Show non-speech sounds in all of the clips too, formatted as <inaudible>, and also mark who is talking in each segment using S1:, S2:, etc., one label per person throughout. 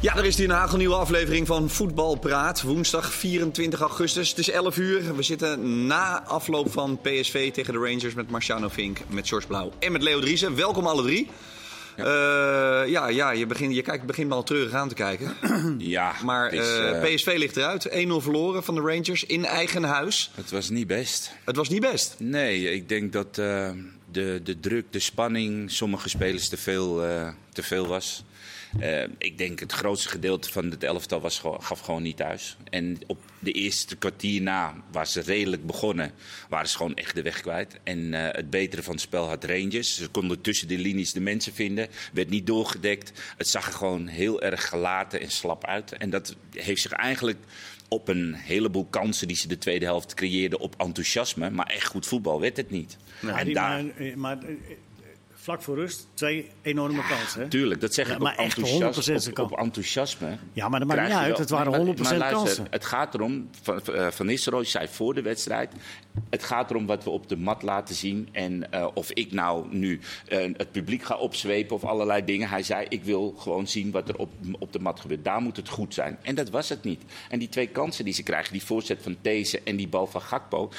S1: Ja, er is hier een hagelnieuwe aflevering van Voetbal Praat. Woensdag 24 augustus. Het is 11 uur. We zitten na afloop van PSV tegen de Rangers met Marciano Vink, met George Blauw en met Leo Driessen. Welkom alle drie. Ja, ja, ja je, begint, je kijkt, begint me al treurig aan te <clears throat> kijken.
S2: Ja,
S1: Maar
S2: het, is,
S1: eh,
S2: eh,
S1: PSV ligt eruit. 1-0 verloren van de Rangers in eigen huis.
S2: het was niet best.
S1: Het was niet best.
S2: Nee, ik denk dat eh, de, de druk, de spanning, sommige spelers te veel, eh, te veel was. Eh, ik denk het grootste gedeelte van het elftal was, gewoon- gaf gewoon niet thuis. En op de eerste kwartier na, waar ze redelijk begonnen, waren ze gewoon echt de weg kwijt. En eh, het betere van het spel had Rangers. Ze konden tussen de linies de mensen vinden. Werd niet doorgedekt. Het zag er gewoon heel erg gelaten en slap uit. En dat heeft zich eigenlijk op een heleboel kansen die ze de tweede helft creëerden op enthousiasme. Maar echt goed voetbal werd het niet.
S3: Maar
S2: en
S3: die-
S2: Nou, daar,
S3: Maar, eh, maar, eh, vlak voor rust, twee enorme kansen. Hè?
S2: tuurlijk, dat zeg
S3: Ja,
S2: ik
S3: maar
S2: op,
S3: echt 100%
S2: enthousiasme,
S3: zijn
S2: op,
S3: kans.
S2: op enthousiasme.
S3: Ja, maar dat maakt
S2: krijg
S3: niet
S2: je
S3: uit.
S2: wel-
S3: Het waren
S2: Nee, maar-
S3: 100%
S2: maar luister,
S3: kansen.
S2: Het gaat erom, Van, eh, van Nistelrooy zei voor de wedstrijd... het gaat erom wat we op de mat laten zien. En eh, of ik nou nu eh, het publiek ga opzwepen of allerlei dingen. Hij zei, ik wil gewoon zien wat er op, op de mat gebeurt. Daar moet het goed zijn. En dat was het niet. En die twee kansen die ze krijgen, die voorzet van These en die bal van Gakpo...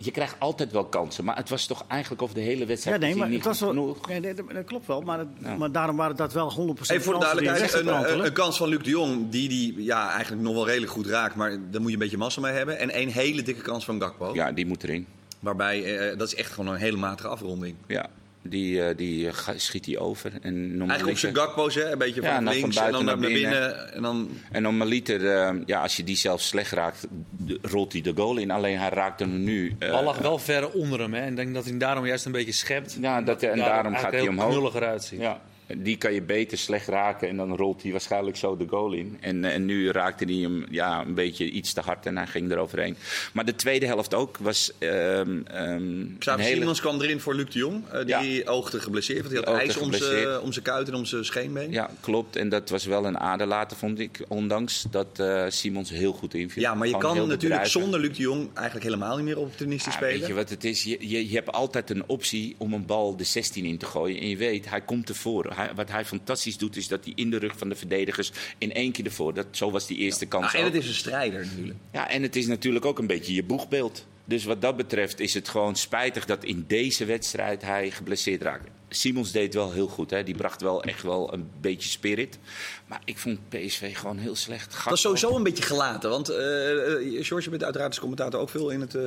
S2: Je krijgt altijd wel kansen, maar het was toch eigenlijk over de hele
S3: Ja,
S2: wedstrijd
S3: nee,
S2: gezien
S3: maar het
S2: niet
S3: was
S2: goed
S3: wel,
S2: genoeg.
S3: nee, nee, dat dat klopt wel. Maar, het- maar daarom waren dat wel 100%
S1: Even voor de
S3: kansen die
S1: duidelijkheid,
S3: in de
S1: een,
S3: rechterkant,
S1: een,
S3: hè?
S1: een eh, kans van Luc de Jong, die die ja, eigenlijk nog wel redelijk goed raakt, maar daar moet je een beetje massa mee hebben. En één hele dikke kans van Gakpo,
S2: Ja, die moet erin.
S1: waarbij, eh, dat is echt gewoon een hele matige afronding.
S2: Ja, die, eh, die eh, ga- schiet hij over. En
S1: Eigenlijk op zijn
S2: Normaliter-
S1: Gakpo's, hè, een beetje
S2: Ja,
S1: van
S2: dan van
S1: links en dan
S2: buiten
S1: naar
S2: naar
S1: binnen.
S2: binnen.
S1: En dan,
S2: En normaliter, eh, ja, als je die zelf slecht raakt, de- rolt hij de goal in. Alleen hij raakt hem nu. eh,
S4: De bal lag wel verder onder hem. Hè. En ik denk dat hij hem daarom juist een beetje schept.
S2: ja, dat, en
S4: Ja,
S2: daarom
S4: eigenlijk
S2: gaat hij
S4: heel
S2: omhoog.
S4: knulliger uitzien.
S2: Ja. Die kan je beter slecht raken en dan rolt hij waarschijnlijk zo de goal in. En, eh, en nu raakte hij hem ja, een beetje iets te hard en hij ging eroverheen. Maar de tweede helft ook was ehm, ehm, een
S1: Xavi
S2: hele...
S1: Simons kwam erin voor Luc de Jong, eh, die oogde geblesseerd, want hij had
S2: Die
S1: ijs
S2: oogde
S1: om zijn,
S2: geblesseerd.
S1: om zijn kuit en om zijn scheenbeen. Ja.
S2: Ja, klopt. En dat was wel een aderlater, vond ik. Ondanks dat eh, Simons heel goed inviel.
S1: maar je
S2: Gewoon
S1: kan
S2: heel
S1: natuurlijk
S2: bedrijvig.
S1: zonder Luc de Jong eigenlijk helemaal niet meer opportunistisch
S2: Ja,
S1: spelen.
S2: Ah, Weet je wat het is? Je, je, je hebt altijd een optie om een bal de 16 in te gooien. En je weet, hij komt ervoor. Hij, wat hij fantastisch doet, is dat hij in de rug van de verdedigers in één keer ervoor. Dat, zo was die eerste kans
S1: Ah, en
S2: ook.
S1: het is een strijder natuurlijk.
S2: Ja, en het is natuurlijk ook een beetje je boegbeeld. Dus wat dat betreft is het gewoon spijtig dat in deze wedstrijd hij geblesseerd raakte. Simons deed wel heel goed. Hè? Die bracht wel echt wel een beetje spirit. Maar ik vond PSV gewoon heel slecht.
S1: Dat is sowieso een beetje gelaten. Want eh eh, George, je bent uiteraard als commentator ook veel in het eh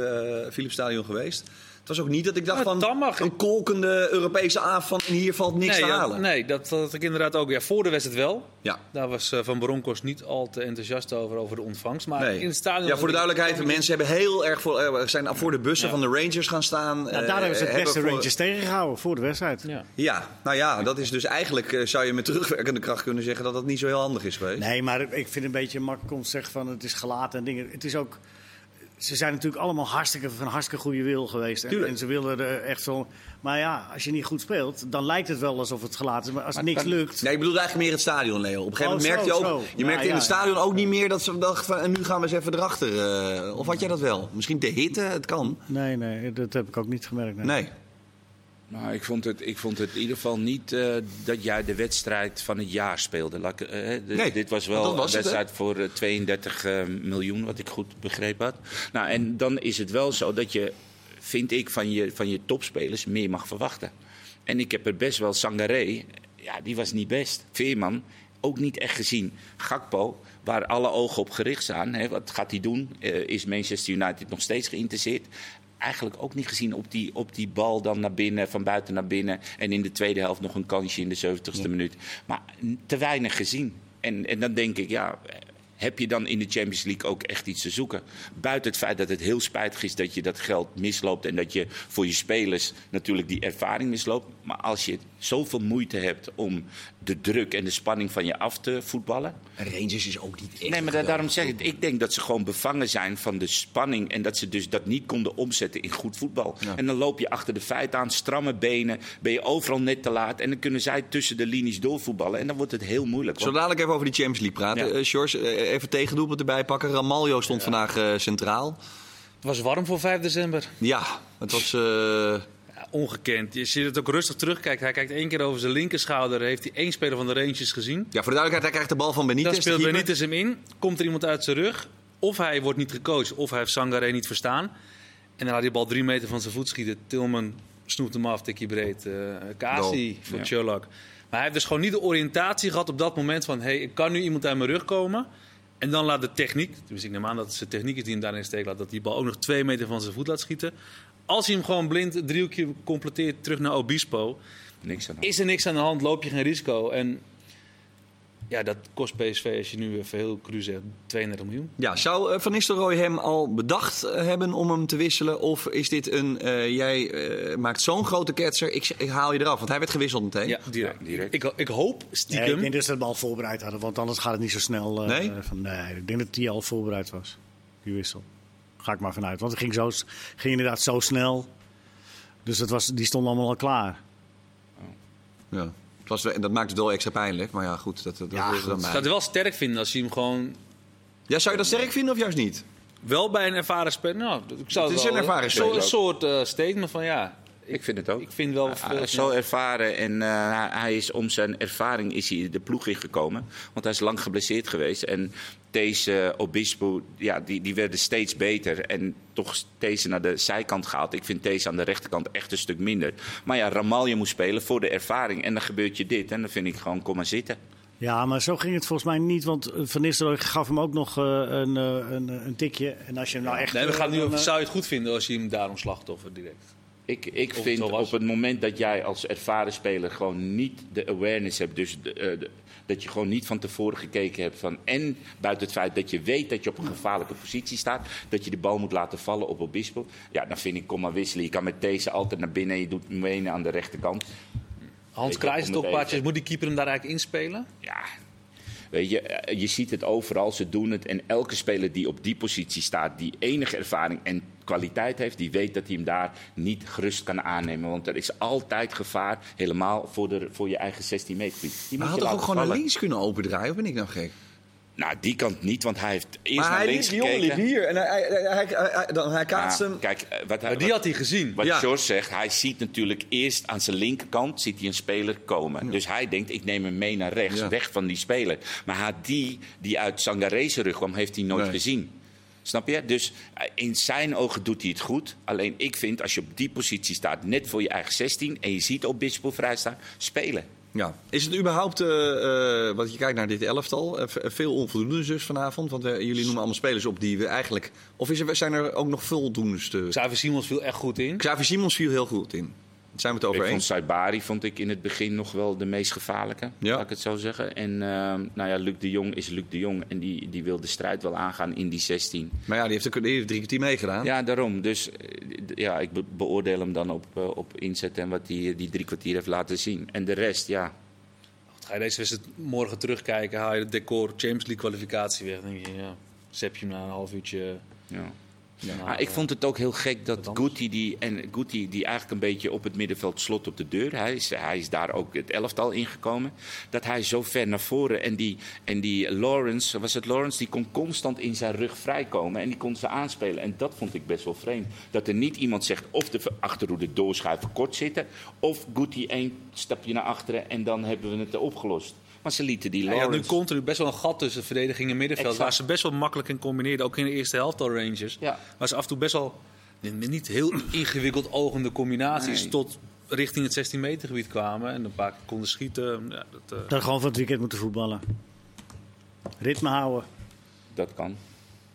S1: Philips Stadion geweest. Het was ook niet dat ik dacht
S4: Ja,
S2: Nou,
S1: van
S4: dan mag-
S1: een kolkende Europese avond en hier valt niks
S4: nee,
S1: te
S4: ja,
S1: halen.
S4: nee, dat had ik inderdaad ook. Ja, voor de wedstrijd wel.
S1: Ja.
S4: Daar was eh, Van Bronckhorst niet al te enthousiast over, over de ontvangst. Maar
S1: Nee.
S4: in het stadion...
S1: ja, voor de duidelijkheid, de mensen hebben heel erg voor, eh, zijn voor de bussen
S4: Ja.
S1: van de Rangers gaan staan.
S3: Nou,
S1: eh,
S3: daar hebben ze het beste
S1: voor-
S3: Rangers tegengehouden voor de wedstrijd.
S4: Ja.
S1: Ja, nou ja, dat is dus eigenlijk eh, zou je met terugwerkende kracht kunnen zeggen dat dat niet zo heel handig is geweest.
S3: Nee, maar ik vind het een beetje makkelijk om te zeggen van het is gelaten en dingen. Het is ook... Ze zijn natuurlijk allemaal hartstikke, van hartstikke goede wil geweest. En,
S1: Tuurlijk.
S3: en ze willen er echt zo... Maar ja, als je niet goed speelt, dan lijkt het wel alsof het gelaten is. Maar als niks lukt...
S1: Nee, ik bedoel eigenlijk meer het stadion, Leo. Op een gegeven
S3: Oh,
S1: moment merkte je
S3: zo,
S1: ook,
S3: zo.
S1: je
S3: Ja,
S1: merkte in
S3: ja,
S1: het
S3: ja.
S1: stadion ook niet meer dat ze dachten van, en nu gaan we eens even erachter. eh. of had jij dat wel? Misschien de hitte, het kan.
S3: Nee, nee, dat heb ik ook niet gemerkt. nee.
S1: Nee.
S2: Nou, ik, vond het, ik vond het in ieder geval niet eh, dat jij de wedstrijd van het jaar speelde. Laat ik, eh, hè, dit-
S1: Nee,
S2: dit was
S1: want
S2: wel
S1: dat was het,
S2: een wedstrijd voor eh, 32 eh, miljoen, wat ik goed begrepen had. Nou, en dan is het wel zo dat je, vind ik, van je, van je topspelers meer mag verwachten. En ik heb er best wel Sangaré, ja, die was niet best. Veerman, ook niet echt gezien. Gakpo, waar alle ogen op gericht staan. Hè, wat gaat hij doen? Eh, is Manchester United nog steeds geïnteresseerd? Eigenlijk ook niet gezien op die, op die bal dan naar binnen, van buiten naar binnen. En in de tweede helft nog een kansje in de 70ste minuut. Maar n- te weinig gezien. En, en dan denk ik, ja, heb je dan in de Champions League ook echt iets te zoeken? Buiten het feit dat het heel spijtig is dat je dat geld misloopt en dat je voor je spelers natuurlijk die ervaring misloopt. Maar als je zoveel moeite hebt om de druk en de spanning van je af te voetballen.
S1: Rangers is ook niet echt.
S2: Nee, maar da- daarom zeg ik, ik denk dat ze gewoon bevangen zijn van de spanning en dat ze dus dat niet konden omzetten in goed voetbal. En dan loop je achter de feiten aan, stramme benen, ben je overal net te laat en dan kunnen zij tussen de linies doorvoetballen en dan wordt het heel moeilijk.
S1: Zo
S2: want-
S1: dadelijk even over die Champions League praten.
S2: Ja.
S1: Eh, George, eh, even tegendoelpunt erbij pakken. Ramaljo stond vandaag eh, centraal.
S4: Het was warm voor 5 december.
S1: Ja, het was... eh,
S4: Ja, ongekend. Je ziet het ook rustig terugkijken. Hij kijkt één keer over zijn linkerschouder. Heeft hij één speler van de Rangers gezien?
S1: Ja, voor de duidelijkheid, hij krijgt de bal van Benitez.
S4: Dan speelt
S1: de keeper.
S4: Benitez hem in. Komt er iemand uit zijn rug. Of hij wordt niet gecoacht. Of hij heeft Sangaré niet verstaan. En dan laat hij de bal drie meter van zijn voet schieten. Tilman snoept hem af. Tikkie breed. eh Kasi
S1: Goal.
S4: voor
S2: Ja.
S4: Sherlock. Maar hij heeft dus gewoon niet de oriëntatie gehad op dat moment. Van, hey, ik kan nu iemand uit mijn rug komen. En dan laat de techniek. Tenminste, ik neem aan dat het zijn techniek is die hem daarin in de steek laat. Dat die bal ook nog twee meter van zijn voet laat schieten. Als hij hem gewoon blind het driehoekje completeert terug naar Obispo
S2: Niks aan de hand.
S4: is er niks aan de hand, loop je geen risico. En ja, dat kost PSV, als je nu even heel cru zegt, 32 miljoen.
S1: Ja, zou eh, Van Nistelrooy hem al bedacht eh, hebben om hem te wisselen? Of is dit een, eh, jij eh, maakt zo'n grote ketser, ik, ik haal je eraf? Want hij werd gewisseld meteen.
S4: Ja, direct.
S2: Ja, direct.
S4: Ik, ik hoop
S3: Nee, ik
S4: stiekem.
S3: denk dat ze het al voorbereid hadden, want anders gaat het niet zo snel. eh,
S1: Nee?
S3: Van, nee, ik denk dat die al voorbereid was, die wissel. Ga ik maar vanuit, want het ging, zo, s- ging inderdaad zo snel. Dus dat was, die stonden allemaal al klaar.
S1: Ja. Het was, en dat maakt het wel extra pijnlijk, maar ja, goed, dat, dat
S3: Ja,
S1: is het dan
S3: goed.
S1: maar.
S4: ik zou het wel sterk vinden als je hem gewoon
S1: Ja, zou je dat sterk vinden of juist niet?
S4: wel bij een ervaren speler. Nou, ik zou
S1: Het is
S4: wel,
S1: een ervaren
S4: zo-
S1: speler
S4: Een
S1: ook.
S4: soort eh, statement van ja.
S2: Ik vind het ook.
S4: Ik vind wel veel-
S2: hij is Ah, zo ervaren en eh, hij is om zijn ervaring is hij de ploeg ingekomen. Want hij is lang geblesseerd geweest. En deze Obispo, ja, die, die werden steeds beter. En toch deze naar de zijkant gehaald. Ik vind deze aan de rechterkant echt een stuk minder. Maar ja, Ramalje moet spelen voor de ervaring. En dan gebeurt je dit. En dan vind ik gewoon, kom maar zitten.
S3: Ja, maar zo ging het volgens mij niet, want eh, Van Nistelrooy gaf hem ook nog eh, een, eh, een, eh, een tikje. En als je hem nou echt...
S4: Nee, we gaan nu
S3: eh,
S4: over, zou je het goed vinden als je hem daarom slachtoffer direct?
S2: Ik, ik
S4: het
S2: vind
S4: zo was.
S2: op het moment dat jij als ervaren speler gewoon niet de awareness hebt, dus de, eh, de- dat je gewoon niet van tevoren gekeken hebt van en buiten het feit dat je weet dat je op een gevaarlijke positie staat, dat je de bal moet laten vallen op Obispo, ja, dan vind ik kom maar wisselen. Je kan met deze altijd naar binnen, en je doet Mwene aan de rechterkant.
S4: Hans
S2: Ik kom
S4: Krijs
S2: meteen.
S4: toch paardjes, moet die keeper hem daar eigenlijk inspelen?
S2: Ja. Weet je, eh, je ziet het overal, ze doen het. En elke speler die op die positie staat, die enige ervaring en kwaliteit heeft, die weet dat hij hem daar niet gerust kan aannemen. Want er is altijd gevaar, helemaal voor, de, voor je eigen 16 meter. Die moet
S1: Maar hij
S2: je
S1: had toch
S2: laten
S1: ook gewoon naar
S2: vallen.
S1: links kunnen opendraaien, of ben ik nou gek?
S2: Nou, die kant niet, want hij heeft eerst
S1: Maar
S2: naar
S1: hij liep,
S2: links
S1: die jongen liep
S2: gekeken.
S1: hier en hij, hij, hij, hij- hij- dan, hij
S2: Ja,
S1: kaatst hem.
S2: kijk, eh, wat, hij-
S4: Maar die
S2: wat-
S4: had hij gezien.
S2: wat
S1: Ja.
S2: George zegt, hij ziet natuurlijk eerst aan zijn linkerkant ziet hij een speler komen. Dus hij denkt, ik neem hem mee naar rechts,
S1: Ja.
S2: weg van die speler. Maar hij had die die uit Sangare's rug kwam, heeft hij nooit
S1: Nee.
S2: gezien. Snap je? Dus eh, in zijn ogen doet hij het goed. Alleen ik vind, als je op die positie staat, net voor je eigen 16... en je ziet Obispo vrijstaan, spelen.
S1: Ja. Is het überhaupt, eh, eh, want je kijkt naar dit elftal, eh, ve- veel onvoldoendes dus vanavond? Want eh, jullie noemen allemaal spelers op die we eigenlijk... Of is er, zijn er ook nog voldoendes? Te...
S4: Xavier Simons viel echt goed in.
S1: Xavier Simons viel heel goed in. Daar zijn we het over
S2: Ik vond
S1: eens.
S2: Saibari vond ik in het begin nog wel de meest gevaarlijke,
S1: Ja.
S2: laat ik het zo zeggen. En ehm, nou ja, Luc de Jong is Luc de Jong en die, die wil de strijd wel aangaan in die 16.
S1: Maar ja, die heeft, ook- die heeft drie kwartier meegedaan.
S2: Ja, daarom. Dus eh, d- ja, ik be- beoordeel hem dan op, eh, op inzet en wat hij eh, die drie kwartier heeft laten zien. En de rest, ja.
S4: Ga je deze wedstrijd morgen terugkijken, haal je het decor Champions League kwalificatie weg. Dan denk je, ja, zep je hem na een half uurtje.
S2: ja.
S4: Nou,
S2: Ah, ik vond het ook heel gek dat
S4: anders.
S2: Guti, die, en Guti, die eigenlijk een beetje op het middenveld slot op de deur, hij is, hij is daar ook het elftal ingekomen, dat hij zo ver naar voren en die, en die Lawrence, was het Lawrence, die kon constant in zijn rug vrijkomen en die kon ze aanspelen. En dat vond ik best wel vreemd. Dat er niet iemand zegt of de achterhoede doorschuiven kort zitten, of Guti één stapje naar achteren en dan hebben we het opgelost. Maar ze lieten die
S4: Hij had
S2: Lawrence...
S4: Nou nu continu best wel een gat tussen verdediging en middenveld.
S2: Exact.
S4: Waar ze best wel makkelijk in combineerden. Ook in de eerste helft al Rangers.
S2: Ja.
S4: Waar ze af en toe best wel niet niet heel <clears throat> ingewikkeld ogende combinaties
S2: Nee.
S4: tot richting het 16 meter gebied kwamen. En een paar keer konden schieten. Ja, dat, eh,
S3: Dan gewoon van het weekend moeten voetballen. Ritme houden.
S2: Dat kan.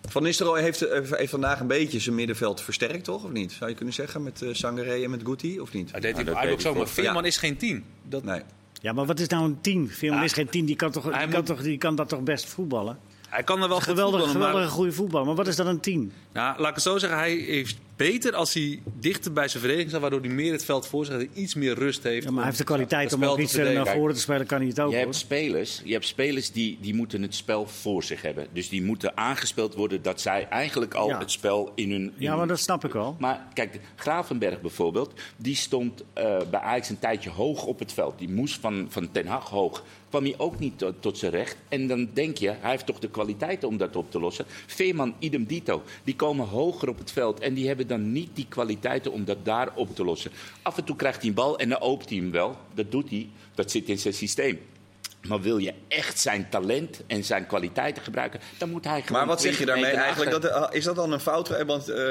S1: Van Nistelrooy heeft, eh, heeft vandaag een beetje zijn middenveld versterkt, toch? Of niet? Zou je kunnen zeggen met eh Sangaré en met Guti, of niet?
S4: hij deed
S2: dat
S4: hij
S2: weet
S4: ook
S2: ik
S4: zo, maar
S2: wel.
S4: Veerman
S1: Ja.
S4: is geen 10. Dat,
S1: Nee.
S3: Ja, maar wat is nou een team? Veerman is geen team, die kan, toch, die,
S4: hij
S3: kan
S4: moet-
S3: toch, die kan dat toch best voetballen?
S4: Hij kan er wel goed
S3: Geweldige,
S4: voetballen, maar-
S3: geweldige goede voetbal, maar wat is dan een team?
S4: Nou, laat ik het zo zeggen. Hij heeft beter als hij dichter bij zijn verdediging staat. Waardoor hij meer het veld voor zich heeft. en Iets meer rust heeft.
S3: Ja, maar hij heeft de kwaliteit
S4: dat
S3: om
S4: spel
S3: ook
S4: te
S3: iets verder naar
S4: verdedigen.
S3: voren te spelen, kan hij het ook.
S2: Je
S3: hoor.
S2: hebt spelers, je hebt spelers die, die moeten het spel voor zich hebben. Dus die moeten aangespeeld worden dat zij eigenlijk al
S3: Ja.
S2: het spel in hun... in
S3: Ja, maar
S2: hun-
S3: dat snap ik wel.
S2: Maar kijk, Gravenberg bijvoorbeeld, die stond eh, bij Ajax een tijdje hoog op het veld. Die moest van, van Ten Hag hoog. Kwam hij ook niet tot, tot zijn recht. En dan denk je, hij heeft toch de kwaliteit om dat op te lossen. Veerman, idem dito. Die komen hoger op het veld en die hebben hebben dan niet die kwaliteiten om dat daar op te lossen. Af en toe krijgt hij een bal en dan opent hij hem wel. Dat doet hij, dat zit in zijn systeem. Maar wil je echt zijn talent en zijn kwaliteiten gebruiken, dan moet hij gewoon.
S1: Maar wat zeg je
S2: 20
S1: daarmee
S2: meter
S1: eigenlijk?
S2: achter.
S1: Dat, eh, is dat dan een fout? Eh, Want eh,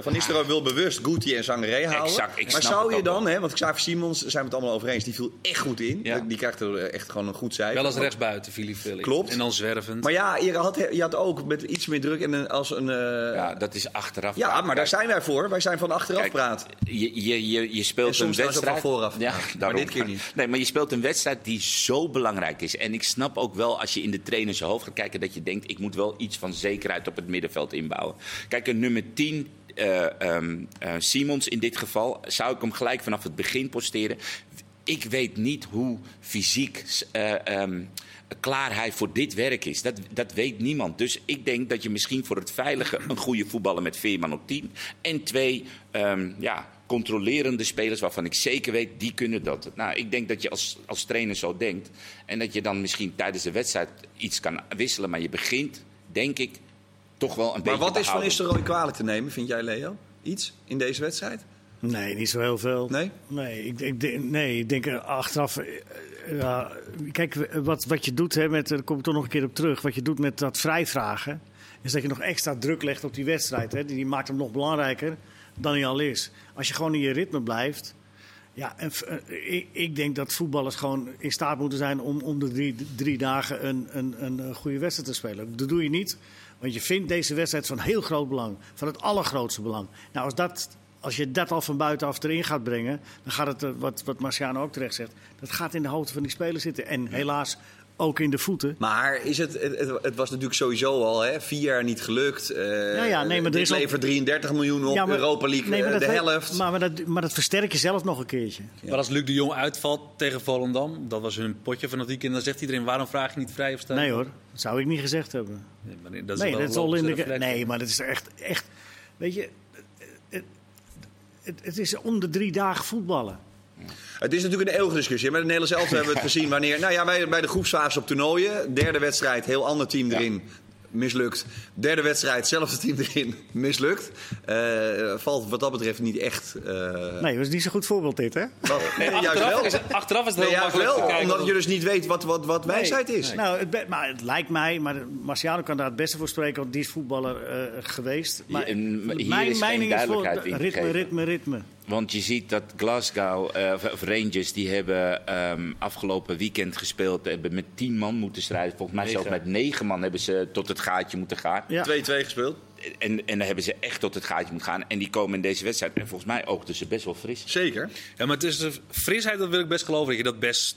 S1: Van Nistelrooy wil bewust Guti en Zangeré halen.
S2: Exact, ik
S1: maar
S2: snap
S1: zou
S2: het
S1: je
S2: ook
S1: dan, hè, want Xavier Simons, daar zijn we het allemaal over eens, die viel echt goed in.
S2: Ja.
S1: Die krijgt er eh, echt gewoon een goed cijfer.
S4: Wel als rechtsbuiten, Philippe Philips.
S1: Klopt.
S4: En dan zwervend.
S1: Maar ja, je had, je had ook met iets meer druk en een, als een... eh, ja,
S2: ja, dat is achteraf.
S1: maar daar zijn wij voor. Wij zijn van achteraf
S2: Kijk,
S1: praat.
S2: Je, je, je, je
S1: En
S2: speelt
S1: soms
S2: een
S1: trouwens ook
S2: wedstrijd.
S1: van vooraf.
S2: <laughs> Ja,
S1: Maar
S2: daarom.
S1: dit keer niet.
S2: Nee, maar je speelt een wedstrijd die zo belangrijk is. En ik snap ook wel als je in de trainer zijn hoofd gaat kijken dat je denkt: ik moet wel iets van zekerheid op het middenveld inbouwen. Kijk, een nummer 10. eh, ehm, eh, Simons in dit geval zou ik hem gelijk vanaf het begin posteren. Ik weet niet hoe fysiek eh, ehm, klaar hij voor dit werk is. Dat, dat weet niemand. Dus ik denk dat je misschien voor het veilige een goede voetballer met Veerman op 10 en twee ehm, ja, controlerende spelers waarvan ik zeker weet, die kunnen dat. Nou, ik denk dat je als, als trainer zo denkt en dat je dan misschien tijdens de wedstrijd iets kan wisselen, maar je begint, denk ik, toch wel een
S1: Maar
S2: beetje
S1: wat is Van
S2: behouden.
S1: Nistelrooy kwalijk te nemen, vind jij Leo? Iets in deze wedstrijd?
S3: Nee, niet zo heel veel.
S1: Nee?
S3: Nee, ik, ik, denk- nee, ik denk eh, achteraf. eh, ja, kijk, eh, wat, wat je doet, hè, met, eh, daar kom ik toch nog een keer op terug. Wat je doet met dat vrijvragen. Is dat je nog extra druk legt op die wedstrijd. Hè, die, die maakt hem nog belangrijker dan hij al is. Als je gewoon in je ritme blijft. Ja, en, v- eh, ik, ik denk dat voetballers gewoon in staat moeten zijn om om de drie, drie dagen een, een, een eh, goede wedstrijd te spelen. Dat doe je niet, want je vindt deze wedstrijd van heel groot belang. Van het allergrootste belang. Nou, als, dat, als je dat al van buitenaf erin gaat brengen, dan gaat het, eh, wat, wat Marciano ook terecht zegt, dat gaat in de hoofden van die spelers zitten. En helaas ook in de voeten.
S1: Maar is het, het, het- het was natuurlijk sowieso al hè, vier jaar niet gelukt. Eh
S3: Ja, ja, nee, maar er
S1: dit
S3: is al-
S1: levert 33 miljoen op,
S3: Ja, maar-
S1: Europa League
S3: nee, maar
S1: eh,
S3: dat
S1: de
S3: weet-
S1: helft.
S3: Maar, maar, dat, maar dat versterk je zelf nog een keertje.
S4: Maar als Luc de Jong uitvalt tegen Volendam, dat was hun potje van het weekend, dan zegt iedereen: waarom vraag je niet vrij of staan?
S3: Nee hoor, dat zou ik niet gezegd hebben.
S4: Nee, maar dat is,
S3: nee,
S4: wel
S3: dat is
S4: een
S3: al in de.
S4: logische reflex.
S3: Nee, maar dat is echt. echt weet je, het, het, het is om de drie dagen voetballen.
S1: Het is natuurlijk een eeuwige discussie. hè. Met het Nederlands elftal hebben we het gezien wanneer... Nou ja, wij bij de groepsfase op toernooien. Derde wedstrijd, heel ander team erin. Mislukt. Derde wedstrijd, zelfde team erin. <laughs> Mislukt. Eh, valt wat dat betreft niet echt... eh,
S3: Nee, dat is niet zo'n goed voorbeeld, dit, hè?
S1: wel- nee, juist
S4: Achteraf
S1: wel.
S4: is het- Achteraf is het
S1: Nee,
S4: heel
S1: juist
S4: makkelijk te
S1: wel.
S4: kijken.
S1: Omdat je dus niet weet wat, wat, wat wijsheid is.
S3: Nou, het, be- maar het lijkt mij, maar Marciano kan daar het beste voor spreken, want die is voetballer eh, geweest. Maar
S2: Hier- hier is geen
S3: voor
S2: duidelijkheid in
S3: ritme, ritme,
S2: gegeven.
S3: ritme, ritme.
S2: Want je ziet dat Glasgow eh, of- of Rangers, die hebben ehm, afgelopen weekend gespeeld, hebben met tien man moeten strijden. Volgens mij zelfs met negen man hebben ze tot het gaatje moeten gaan.
S3: Ja.
S1: 2-2 gespeeld.
S2: En, en dan hebben ze echt tot het gaatje moeten gaan. En die komen in deze wedstrijd. En volgens mij oogden ze best wel fris.
S1: Zeker.
S4: Ja, maar het is de frisheid, dat wil ik best geloven, dat je dat best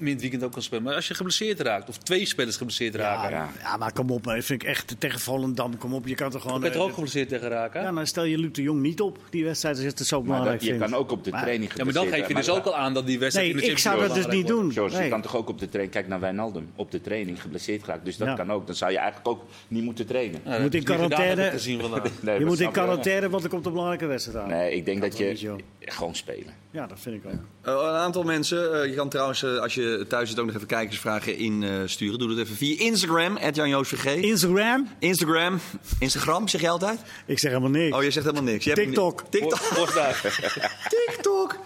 S4: in het weekend ook kan spelen. Maar als je geblesseerd raakt, of twee spelers geblesseerd
S3: Ja,
S4: raken.
S2: ja.
S3: ja, maar kom op, dat vind ik echt tegen Volendam. Kom op, je kan toch gewoon.
S4: Ik ben er
S3: eh,
S4: ook geblesseerd tegen raken.
S3: ja, dan stel je Luc de Jong niet op, die wedstrijd, als je het zo
S2: Maar
S3: belangrijk
S2: dat, je
S3: vindt.
S2: kan ook op de
S3: Maar-
S2: training
S4: Ja, maar dan geef je dus ook al aan dat die wedstrijd
S3: Nee,
S4: in de
S3: ik zou dat
S4: Champions
S3: dus
S4: League
S3: niet doen.
S2: George, je
S3: Nee.
S2: kan toch ook op de training... Kijk naar Wijnaldum. Op de training geblesseerd geraakt. Dus dat
S3: Ja.
S2: kan ook. Dan zou je eigenlijk ook niet moeten trainen.
S4: belangrijk wordt. Ja, Nou, dat
S3: Moet in
S4: heb ik niet
S3: quarantaine.
S4: gedaan, heb ik gezien
S2: <laughs>
S4: eh, vandaag.
S2: Nee,
S3: je
S2: dat
S3: moet in
S2: snap ik wel.
S3: quarantaine, want er komt een belangrijke wedstrijd aan.
S2: Nee, ik denk dat,
S3: Dat
S2: je...
S3: niet, joh.
S2: Gewoon spelen.
S3: Ja, dat vind ik ook.
S1: Eh, een aantal mensen, eh, je kan trouwens eh, als je thuis zit ook nog even kijkersvragen insturen. Doe dat even via Instagram, @janjoosvg.
S3: Instagram?
S1: Instagram, Instagram zeg jij altijd?
S3: Ik zeg helemaal niks.
S1: Oh, je zegt helemaal niks. Je hebt-
S3: TikTok.
S1: TikTok. <laughs> TikTok.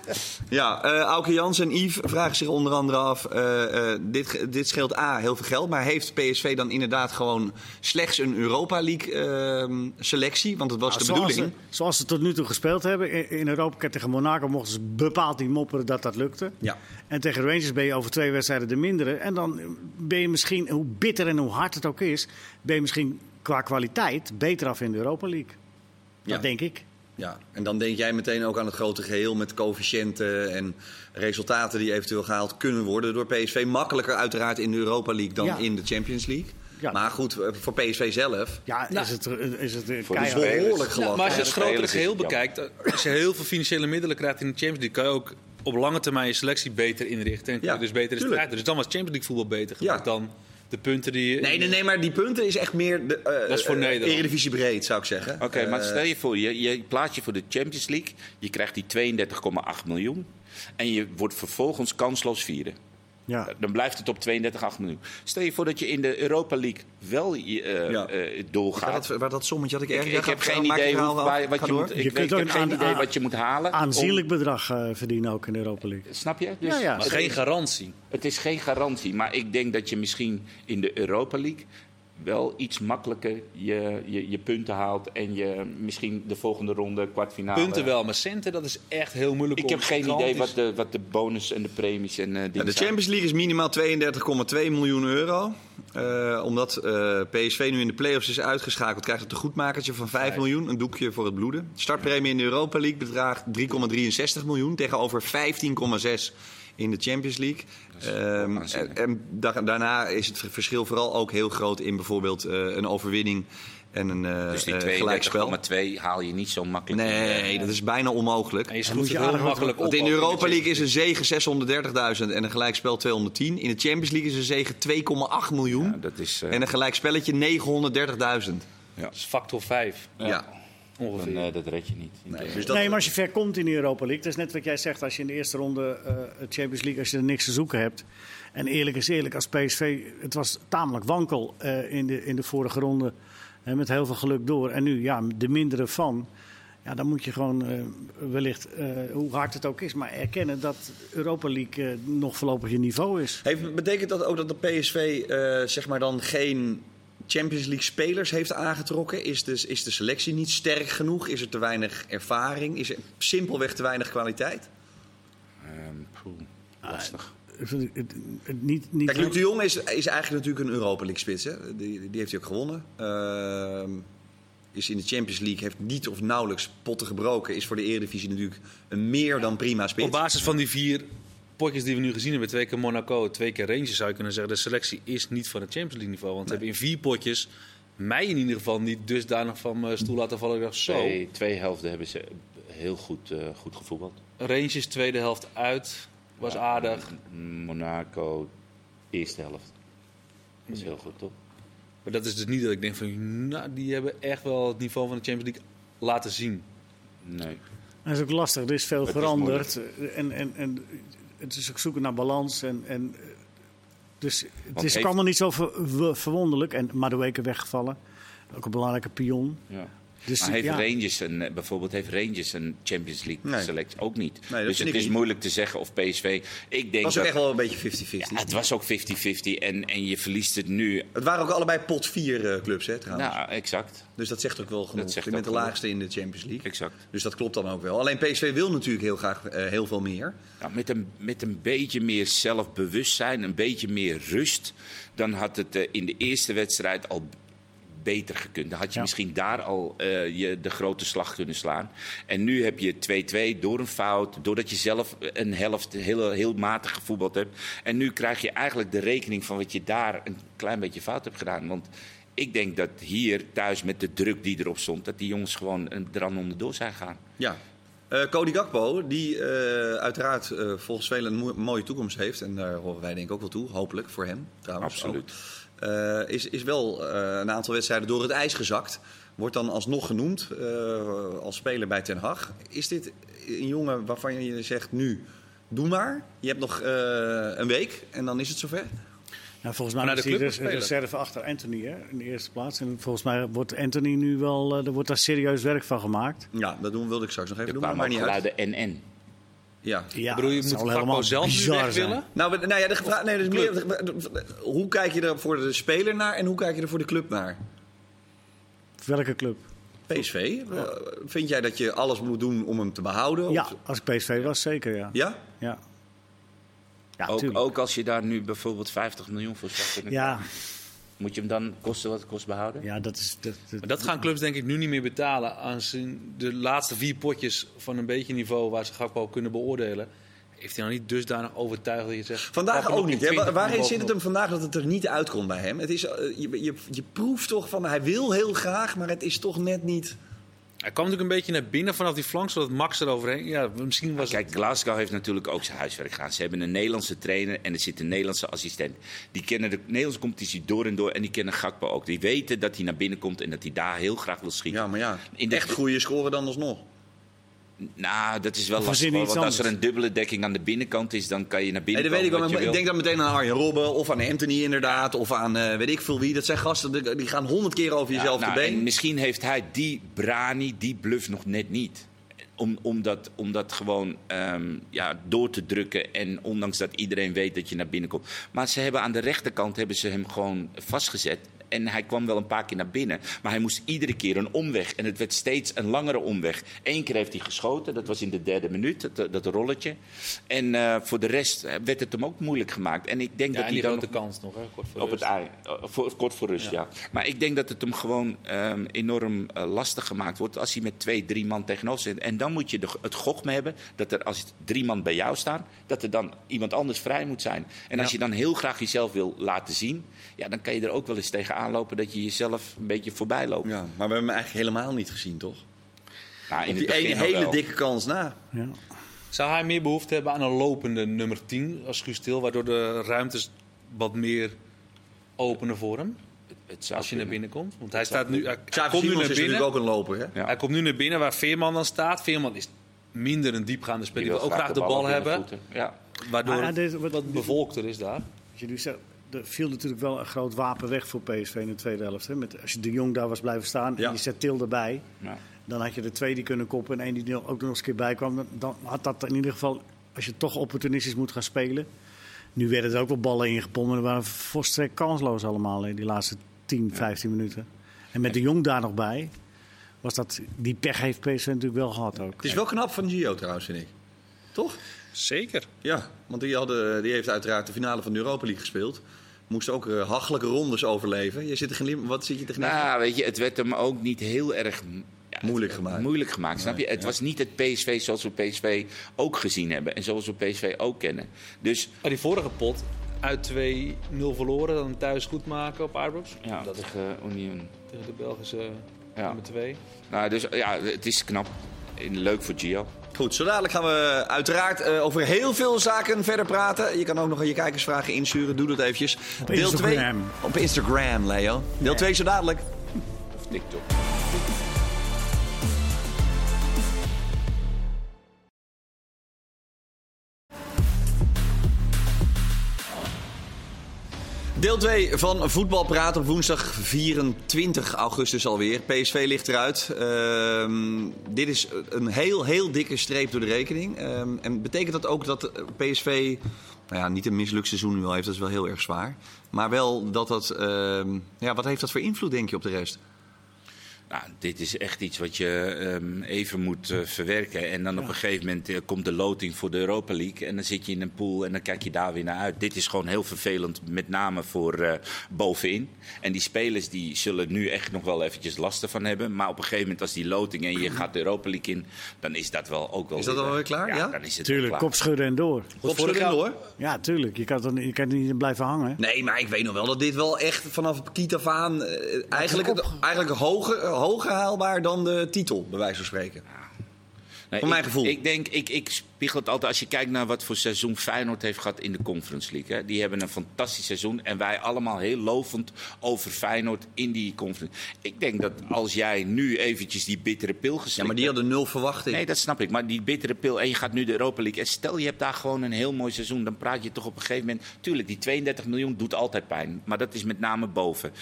S1: Ja, eh Auke Jans en Yves vragen zich onder andere af. eh, eh, dit, ge- dit scheelt A, heel veel geld. Maar heeft PSV dan inderdaad gewoon slechts een Europa League ehm, selectie? Want dat was de
S3: Nou, zoals
S1: bedoeling.
S3: Ze, zoals ze tot nu toe gespeeld hebben in- in Europa. Kijk, Tegen Monaco mochten ze bepaald niet mopperen dat dat lukte.
S1: Ja.
S3: En tegen Rangers ben je over twee wedstrijden de mindere. En dan ben je misschien, hoe bitter en hoe hard het ook is... ben je misschien qua kwaliteit beter af in de Europa League.
S1: Ja.
S3: Dat denk ik.
S1: Ja, en dan denk jij meteen ook aan het grote geheel met coëfficiënten en resultaten die eventueel gehaald kunnen worden door PSV. Makkelijker uiteraard in de Europa League dan
S3: Ja.
S1: in de Champions League.
S3: Ja.
S1: Maar goed, eh, voor PSV zelf
S3: Ja, is het, is het eh,
S2: Voor de
S3: keihard.
S2: spelers.
S1: behoorlijk gelachen.
S4: Ja, maar als je
S2: Ja,
S4: het
S2: de
S4: grotere
S2: spelers is
S4: geheel
S2: het jammer.
S4: bekijkt, eh, als je heel veel financiële middelen krijgt in de Champions League, kan je ook op lange termijn je selectie beter inrichten. En kun je
S1: Ja,
S4: dus beter de
S1: tuurlijk.
S4: strijden. Dus dan was Champions League voetbal beter gebruikt
S1: Ja.
S4: dan de punten die je...
S1: Nee, nee, nee, maar die punten is echt meer de, eh,
S4: Dat is voor
S1: eh,
S4: Nederland.
S1: Eredivisie breed, zou ik zeggen.
S2: Oké, maar stel je voor, je, je plaatst je voor de Champions League. Je krijgt die 32,8 miljoen. En je wordt vervolgens kansloos vieren.
S3: Ja.
S2: Dan blijft het op 32,8 miljoen. Stel je voor dat je in de Europa League wel eh,
S1: Ja.
S2: eh,
S1: Ja,
S2: doorgaat.
S1: dat, waar dat sommetje had ik
S2: Ik,
S1: ergens.
S2: ik
S1: Ja,
S2: heb
S1: ga-
S2: geen
S1: maak je
S2: idee
S1: verhaal
S2: hoe,
S1: af.
S2: waar-
S1: Ga
S2: wat je
S1: door.
S2: moet,
S3: Je
S2: ik,
S3: kunt
S2: weet, ik
S3: ook
S2: heb
S3: een
S2: geen
S3: aan-
S2: idee
S3: aan-
S2: wat je moet halen. om-
S3: Aanzienlijk bedrag eh, verdienen ook in de Europa League.
S2: snap je? Dus
S3: Ja, ja.
S4: Dat is geen garantie.
S2: Het is geen garantie, maar ik denk dat je misschien in de Europa League wel iets makkelijker je, je, je punten haalt en je misschien de volgende ronde kwartfinale.
S4: Punten wel, maar centen, dat is echt heel moeilijk.
S2: Ik
S4: om
S2: heb geen idee wat
S4: gigantisch-
S2: de, wat de bonus en de premies en eh dingen
S1: Ja, de
S2: zijn.
S1: Champions League is minimaal 32,2 miljoen euro. Eh, omdat eh, PSV nu in de play-offs is uitgeschakeld, krijgt het een goedmakertje van 5 miljoen. Een doekje voor het bloeden. Startpremie in de Europa League bedraagt 3,63 miljoen tegenover 15,6 in de Champions League. Ehm,
S2: waanzinnig.
S1: en da- daarna is het verschil vooral ook heel groot in bijvoorbeeld eh, een overwinning en een eh,
S2: Dus die
S1: eh, gelijkspel.
S2: 32,2 haal je niet zo makkelijk. eh,
S1: Nee, dat is bijna onmogelijk.
S4: En je
S3: moet
S4: schroeft
S3: je
S4: het heel
S3: aardig wat-
S4: makkelijk op.
S1: Want in de
S4: ook
S1: Europa
S4: Champions
S1: League is een zegen 630.000 en een gelijkspel 210. In de Champions League is een zegen 2,8 miljoen.
S2: Ja, dat is, eh,
S1: En een gelijkspelletje 930.000.
S4: Dat is factor 5
S1: Ja.
S2: dan,
S4: ongeveer.
S2: eh, dat red je niet.
S1: Dus dat,
S3: nee, maar als je ver komt in de Europa League, dat is net wat jij zegt. Als je in de eerste ronde eh, Champions League, als je er niks te zoeken hebt. En eerlijk is eerlijk, als PSV, het was tamelijk wankel eh, in, de, in de vorige ronde. En met heel veel geluk door. En nu, ja, de mindere van. Ja, dan moet je gewoon eh, wellicht, eh, hoe hard het ook is, maar erkennen dat Europa League eh, nog voorlopig je niveau is.
S1: heeft, betekent dat ook dat de PSV eh, zeg maar dan geen Champions League spelers heeft aangetrokken? Is de, is de selectie niet sterk genoeg? Is er te weinig ervaring? Is er simpelweg te weinig kwaliteit?
S2: Ehm, poeh,
S4: Ah,
S2: lastig.
S3: Het- het- het- het- Niet, niet
S1: Kijk, Luc de Jong is, is eigenlijk natuurlijk een Europa League spits. Hè? Die, die heeft hij ook gewonnen. Ehm, is in de Champions League, heeft niet of nauwelijks potten gebroken. Is voor de Eredivisie natuurlijk een meer dan prima spits.
S4: Op basis van die vier potjes die we nu gezien hebben, twee keer Monaco, twee keer Rangers, zou je kunnen zeggen, de selectie is niet van het Champions League niveau. Want ze hebben in vier potjes mij in ieder geval niet dusdanig van mijn stoel laten vallen. Ik dacht, zo,
S2: Twee, twee helften hebben ze heel goed, eh, goed gevoetbald.
S4: Rangers tweede helft uit, was aardig.
S2: Monaco, eerste helft. Dat is heel goed, toch?
S4: Maar dat is dus niet dat ik denk van, nou, die hebben echt wel het niveau van de Champions League laten zien.
S2: Nee.
S3: Dat is ook lastig. Er is veel
S2: Het is
S3: veranderd. en, en, en het is ook zoeken naar balans. En, en, eh, dus het is ook
S2: heeft-
S3: allemaal niet zo ver- w- verwonderlijk. En Madueke weggevallen. Ook een belangrijke pion.
S2: Ja.
S3: Dus
S2: maar heeft
S3: ja,
S2: Rangers een, eh, bijvoorbeeld heeft Rangers een Champions League
S1: Nee.
S2: selectie ook niet.
S1: Nee, dat
S2: dus
S1: vind
S2: het
S1: ik
S2: is
S1: niet.
S2: moeilijk te zeggen of PSV. Ik denk
S1: was ook
S2: dat,
S1: echt wel een beetje 50-50.
S2: Ja, het was ook 50-50 en, en je verliest het nu.
S1: Het waren ook allebei pot 4 eh, clubs, hè, trouwens.
S2: Nou, exact.
S1: Dus dat zegt ook wel genoeg.
S2: Dat
S1: Je
S2: zegt
S1: bent de
S2: ook genoeg.
S1: laagste in de Champions League.
S2: Exact.
S1: Dus dat klopt dan ook wel. Alleen PSV wil natuurlijk heel graag eh, heel veel meer.
S2: Nou, met, een, met een beetje meer zelfbewustzijn, een beetje meer rust, dan had het eh, in de eerste wedstrijd al b- beter gekund. Dan had je
S3: Ja.
S2: misschien daar al eh, je de grote slag kunnen slaan. En nu heb je 2-2 door een fout, doordat je zelf eh, een helft heel, heel matig gevoetbald hebt. En nu krijg je eigenlijk de rekening van wat je daar een klein beetje fout hebt gedaan. Want ik denk dat hier thuis met de druk die erop stond, dat die jongens gewoon eh, er aan onderdoor zijn gaan.
S1: Ja. Eh, Cody Gakpo, die eh, uiteraard eh, volgens velen een moe- mooie toekomst heeft. En daar horen wij denk ik ook wel toe. Hopelijk voor hem trouwens.
S2: Absoluut.
S1: ook. Eh, is, is wel eh, een aantal wedstrijden door het ijs gezakt. Wordt dan alsnog genoemd eh, als speler bij Ten Hag. Is dit een jongen waarvan je zegt nu, doe maar. Je hebt nog eh, een week en dan is het zover.
S3: nou, volgens mij
S4: Naar de
S3: is hij
S4: club
S3: res-
S4: spelen.
S3: reserve achter Anthony hè, in de eerste plaats. En volgens mij wordt Anthony nu wel, eh, er wordt daar serieus werk van gemaakt.
S1: Ja, dat doen, wilde ik straks nog even
S2: Er
S1: doen. Maar,
S2: kwamen
S1: maar
S2: ook
S1: niet uit.
S2: geluiden en-en.
S1: Ja.
S3: Ja,
S4: Ik bedoel, je
S3: het
S4: moet
S3: zal
S4: Gakpo zelf nu
S3: bizar
S4: weg
S3: zijn.
S4: willen?
S1: Nou, we- nou ja, de gevra- nee, dus meer, de- de- de- hoe kijk je er voor de speler naar en hoe kijk je er voor de club naar?
S3: Welke club?
S1: PSV, eh, vind jij dat je alles moet doen om hem te behouden?
S3: Ja,
S1: Of-
S3: als ik PSV was, zeker ja.
S1: Oh, ja?
S3: Ja, ja
S2: Ook,
S3: tuurlijk.
S2: ook als je daar nu bijvoorbeeld 50 miljoen voor zou kunnen
S3: Ja,
S2: krijgen, moet je hem dan kosten wat het kost behouden?
S3: ja, dat is... Dat,
S4: Maar dat gaan clubs denk ik nu niet meer betalen. Aangezien de laatste vier potjes van een beetje niveau waar ze Gakpo kunnen beoordelen. Heeft hij nou niet dusdanig overtuigd dat je zegt... pak
S1: Vandaag
S4: hem
S1: ook
S4: op in
S1: niet. Hè?
S4: 20
S1: Wa- Waarin
S4: bovenop.
S1: zit het hem vandaag dat het er niet uitkomt bij hem? Het is, eh, je, je, je proeft toch van hij wil heel graag, maar het is toch net niet.
S4: Hij kwam natuurlijk een beetje naar binnen vanaf die flank, zodat Max er overheen... Ja, misschien
S1: Ah,
S4: was
S2: Kijk, Glasgow heeft natuurlijk ook zijn huiswerk gedaan. Ze hebben een Nederlandse trainer en er zit een Nederlandse assistent. Die kennen de Nederlandse competitie door en door en die kennen Gakpo ook. Die weten dat hij naar binnen komt en dat hij daar heel graag wil schieten.
S1: Ja, maar ja.
S2: In de-
S1: Echt goede scoren dan alsnog.
S2: Nou, dat is wel lastig.
S3: Of verzin je
S2: hoor,
S3: iets
S2: Want als er een
S3: anders?
S2: dubbele dekking aan de binnenkant is, dan kan je naar
S1: Nee,
S2: binnen.
S1: dat weet ik wel.
S2: komen
S1: maar
S2: wat
S1: Ik
S2: je
S1: denk dan meteen aan Arjen Robben of aan Anthony inderdaad. Of aan eh, weet ik veel wie. Dat zijn gasten die- die gaan honderd keer over
S2: wil.
S1: jezelf
S2: Ja,
S1: te
S2: nou, en
S1: been.
S2: misschien heeft hij die brani, die bluff nog net niet. Om, om, dat, om dat gewoon ehm, ja, door te drukken. En ondanks dat iedereen weet dat je naar binnen komt. Maar ze hebben aan de rechterkant hebben ze hem gewoon vastgezet. En hij kwam wel een paar keer naar binnen. Maar hij moest iedere keer een omweg. En het werd steeds een langere omweg. Eén keer heeft hij geschoten. Dat was in de derde minuut. Dat, dat rolletje. En eh, voor de rest eh, werd het hem ook moeilijk gemaakt. En ik denk dat
S4: en
S2: hij
S4: die
S2: dan
S4: grote
S2: nog
S4: kans nog, hè, kort voor
S2: Op het
S4: rust.
S2: ei. Eh, voor- kort voor rust, ja. Maar ik denk dat het hem gewoon ehm, enorm eh, lastig gemaakt wordt als hij met twee, drie man tegenover zit. En dan moet je de, het gochme hebben dat er als drie man bij jou staan, dat er dan iemand anders vrij moet zijn. En als je dan heel graag jezelf wil laten zien, ja, dan kan je er ook wel eens tegenaan lopen dat je jezelf een beetje voorbij loopt.
S1: Ja, maar we hebben hem eigenlijk helemaal niet gezien, toch?
S2: Nou, in
S1: Op
S2: het
S1: die
S2: begin
S1: ene
S2: nog
S1: hele
S2: wel.
S1: dikke kans na.
S3: Ja.
S4: Zou hij meer behoefte hebben aan een lopende nummer 10 als Guus Til, waardoor de ruimtes wat meer openen voor hem
S2: Het zou
S4: als je naar
S2: kunnen.
S4: binnen komt? Want hij, staat nu, hij, hij
S1: Xavi
S4: komt nu
S1: Simons
S4: naar
S1: is
S4: binnen.
S1: natuurlijk ook een loper, hè?
S2: Ja.
S4: Hij komt nu naar binnen waar Veerman dan staat. Veerman is minder een diepgaande
S2: Je
S4: speler. Die wil
S2: wil
S4: ook graag de bal
S2: op in
S4: hebben,
S2: voeten. Ja.
S4: waardoor
S3: Ah, ja, dit-
S4: het
S3: wat-
S4: wat, bevolkter is daar.
S3: Wat je nu zegt, er viel natuurlijk wel een groot wapen weg voor PSV in de tweede helft. Hè? Met, als je de Jong daar was blijven staan
S1: Ja.
S3: en je zet Til erbij...
S2: Ja.
S3: dan had je er twee die kunnen koppen en één die er ook nog eens een keer bij kwam. Dan, dan had dat in ieder geval, als je toch opportunistisch moet gaan spelen... Nu werden er ook wel ballen ingepompt, maar dat waren volstrekt kansloos allemaal in die laatste 10, 15 minuten. En met de Jong daar nog bij, was dat, die pech heeft PSV natuurlijk wel gehad ook.
S1: Het is wel knap van Gio trouwens, vind ik. Toch?
S4: Zeker.
S1: Ja, want die, hadden, die heeft uiteraard de finale van de Europa League gespeeld. Moest ook eh, hachelijke rondes overleven. Je zit er geen lim- wat zit je te genieten?
S2: Nou, weet je, het werd hem ook niet heel erg m- ja, het-
S1: Moeilijk
S2: het-
S1: gemaakt.
S2: Moeilijk gemaakt, snap je? Het was niet het PSV zoals we PSV ook gezien hebben en zoals we PSV ook kennen. Dus
S4: Maar die vorige pot, uit 2-0 verloren, dan thuis goed maken op Ibrox.
S2: ja,
S4: dat is
S2: tegen Union.
S4: tegen de Belgische
S2: Ja.
S4: nummer 2.
S2: Nou, dus ja, het is knap. En Leuk voor Gio.
S1: Goed, zo dadelijk gaan we uiteraard eh, over heel veel zaken verder praten. Je kan ook nog aan je kijkersvragen insturen. Doe dat eventjes. twee-
S3: Instagram.
S1: op Instagram, Leo. Deel 2 zo dadelijk.
S2: Of TikTok.
S1: Deel 2 van Voetbal Praat op woensdag 24 augustus alweer. PSV ligt eruit. Ehm, dit is een heel, heel dikke streep door de rekening. Ehm, en betekent dat ook dat PSV nou ja, niet een mislukt seizoen nu al heeft? Dat is wel heel erg zwaar. Maar wel dat dat... ehm, ja, wat heeft dat voor invloed, denk je, op de rest?
S2: Nou, dit is echt iets wat je ehm, even moet eh, verwerken. En dan op een gegeven moment eh, komt de loting voor de Europa League. En dan zit je in een pool en dan kijk je daar weer naar uit. Dit is gewoon heel vervelend, met name voor eh, bovenin. En die spelers die zullen nu echt nog wel eventjes last ervan hebben. Maar op een gegeven moment als die loting en je gaat de Europa League in... dan is dat wel ook wel...
S1: Is dat
S2: weer- eh,
S1: alweer klaar?
S2: Ja,
S1: Ja?
S2: dan is het
S3: Tuurlijk,
S2: wel klaar.
S3: kopschudden en door.
S1: Goed voor de
S4: Vorig
S1: hoor.
S3: Ja, tuurlijk. Je kan, dan, je kan er niet in blijven hangen.
S1: Nee, maar ik weet nog wel dat dit wel echt vanaf kiet af aan... eh, eigenlijk, eigenlijk hoger, hoger haalbaar dan de titel, bij wijze van spreken.
S2: Nee,
S1: Voor mijn
S2: ik-
S1: gevoel.
S2: Ik denk, ik, ik spiegel het altijd als je kijkt naar wat voor seizoen Feyenoord heeft gehad in de Conference League. Hè. Die hebben een fantastisch seizoen en wij allemaal heel lovend over Feyenoord in die Conference. Ik denk dat als jij nu eventjes die bittere pil geslikt
S1: Ja, maar die
S2: hebt-
S1: hadden nul verwachting.
S2: Nee, dat snap ik. Maar die bittere pil en je gaat nu de Europa League. En stel je hebt daar gewoon een heel mooi seizoen. Dan praat je toch op een gegeven moment. Tuurlijk, die 32 miljoen doet altijd pijn. Maar dat is met name boven.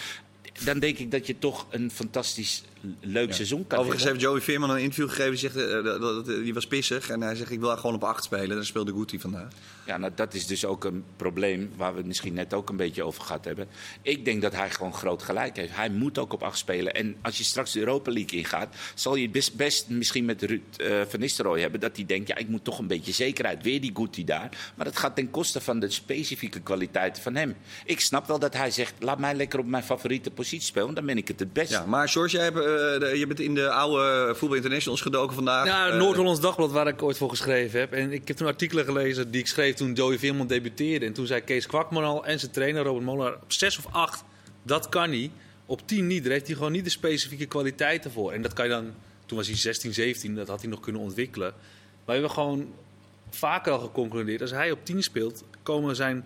S2: Dan denk ik dat je toch een fantastisch leuk seizoen kan
S1: Overigens
S2: hebben.
S1: heeft Joey Veerman een interview gegeven. Die, zegt, eh, dat, dat- die was pissig en hij zegt: Ik wil gewoon op 8 spelen. Dan speelde Guti vandaag.
S2: Ja, nou, dat is dus ook een probleem waar we het misschien net ook een beetje over gehad hebben. Ik denk dat hij gewoon groot gelijk heeft. Hij moet ook op acht spelen. En als je straks de Europa League ingaat, zal je best, best misschien met Ruud eh, van Nistelrooy hebben. Dat hij denkt, ja, ik moet toch een beetje zekerheid. Weer die Guti daar. Maar dat gaat ten koste van de specifieke kwaliteiten van hem. Ik snap wel dat hij zegt, laat mij lekker op mijn favoriete positie spelen. Want dan ben ik het het best.
S1: Ja, maar George, jij hebt, eh, de- je bent in de oude Voetbal Internationals gedoken vandaag.
S4: Nou,
S1: Eh,
S4: Noord-Hollands Dagblad, waar ik ooit voor geschreven heb. En ik heb toen artikelen gelezen die ik schreef toen Joey Veerman debuteerde. En toen zei Kees Kwakman al en zijn trainer Robert Molenaar... op zes of acht, dat kan niet. Op tien niet, daar heeft hij gewoon niet de specifieke kwaliteiten voor. En dat kan je dan... Toen was hij 16, 17, dat had hij nog kunnen ontwikkelen. Maar we hebben gewoon vaker al geconcludeerd... als hij op tien speelt, komen zijn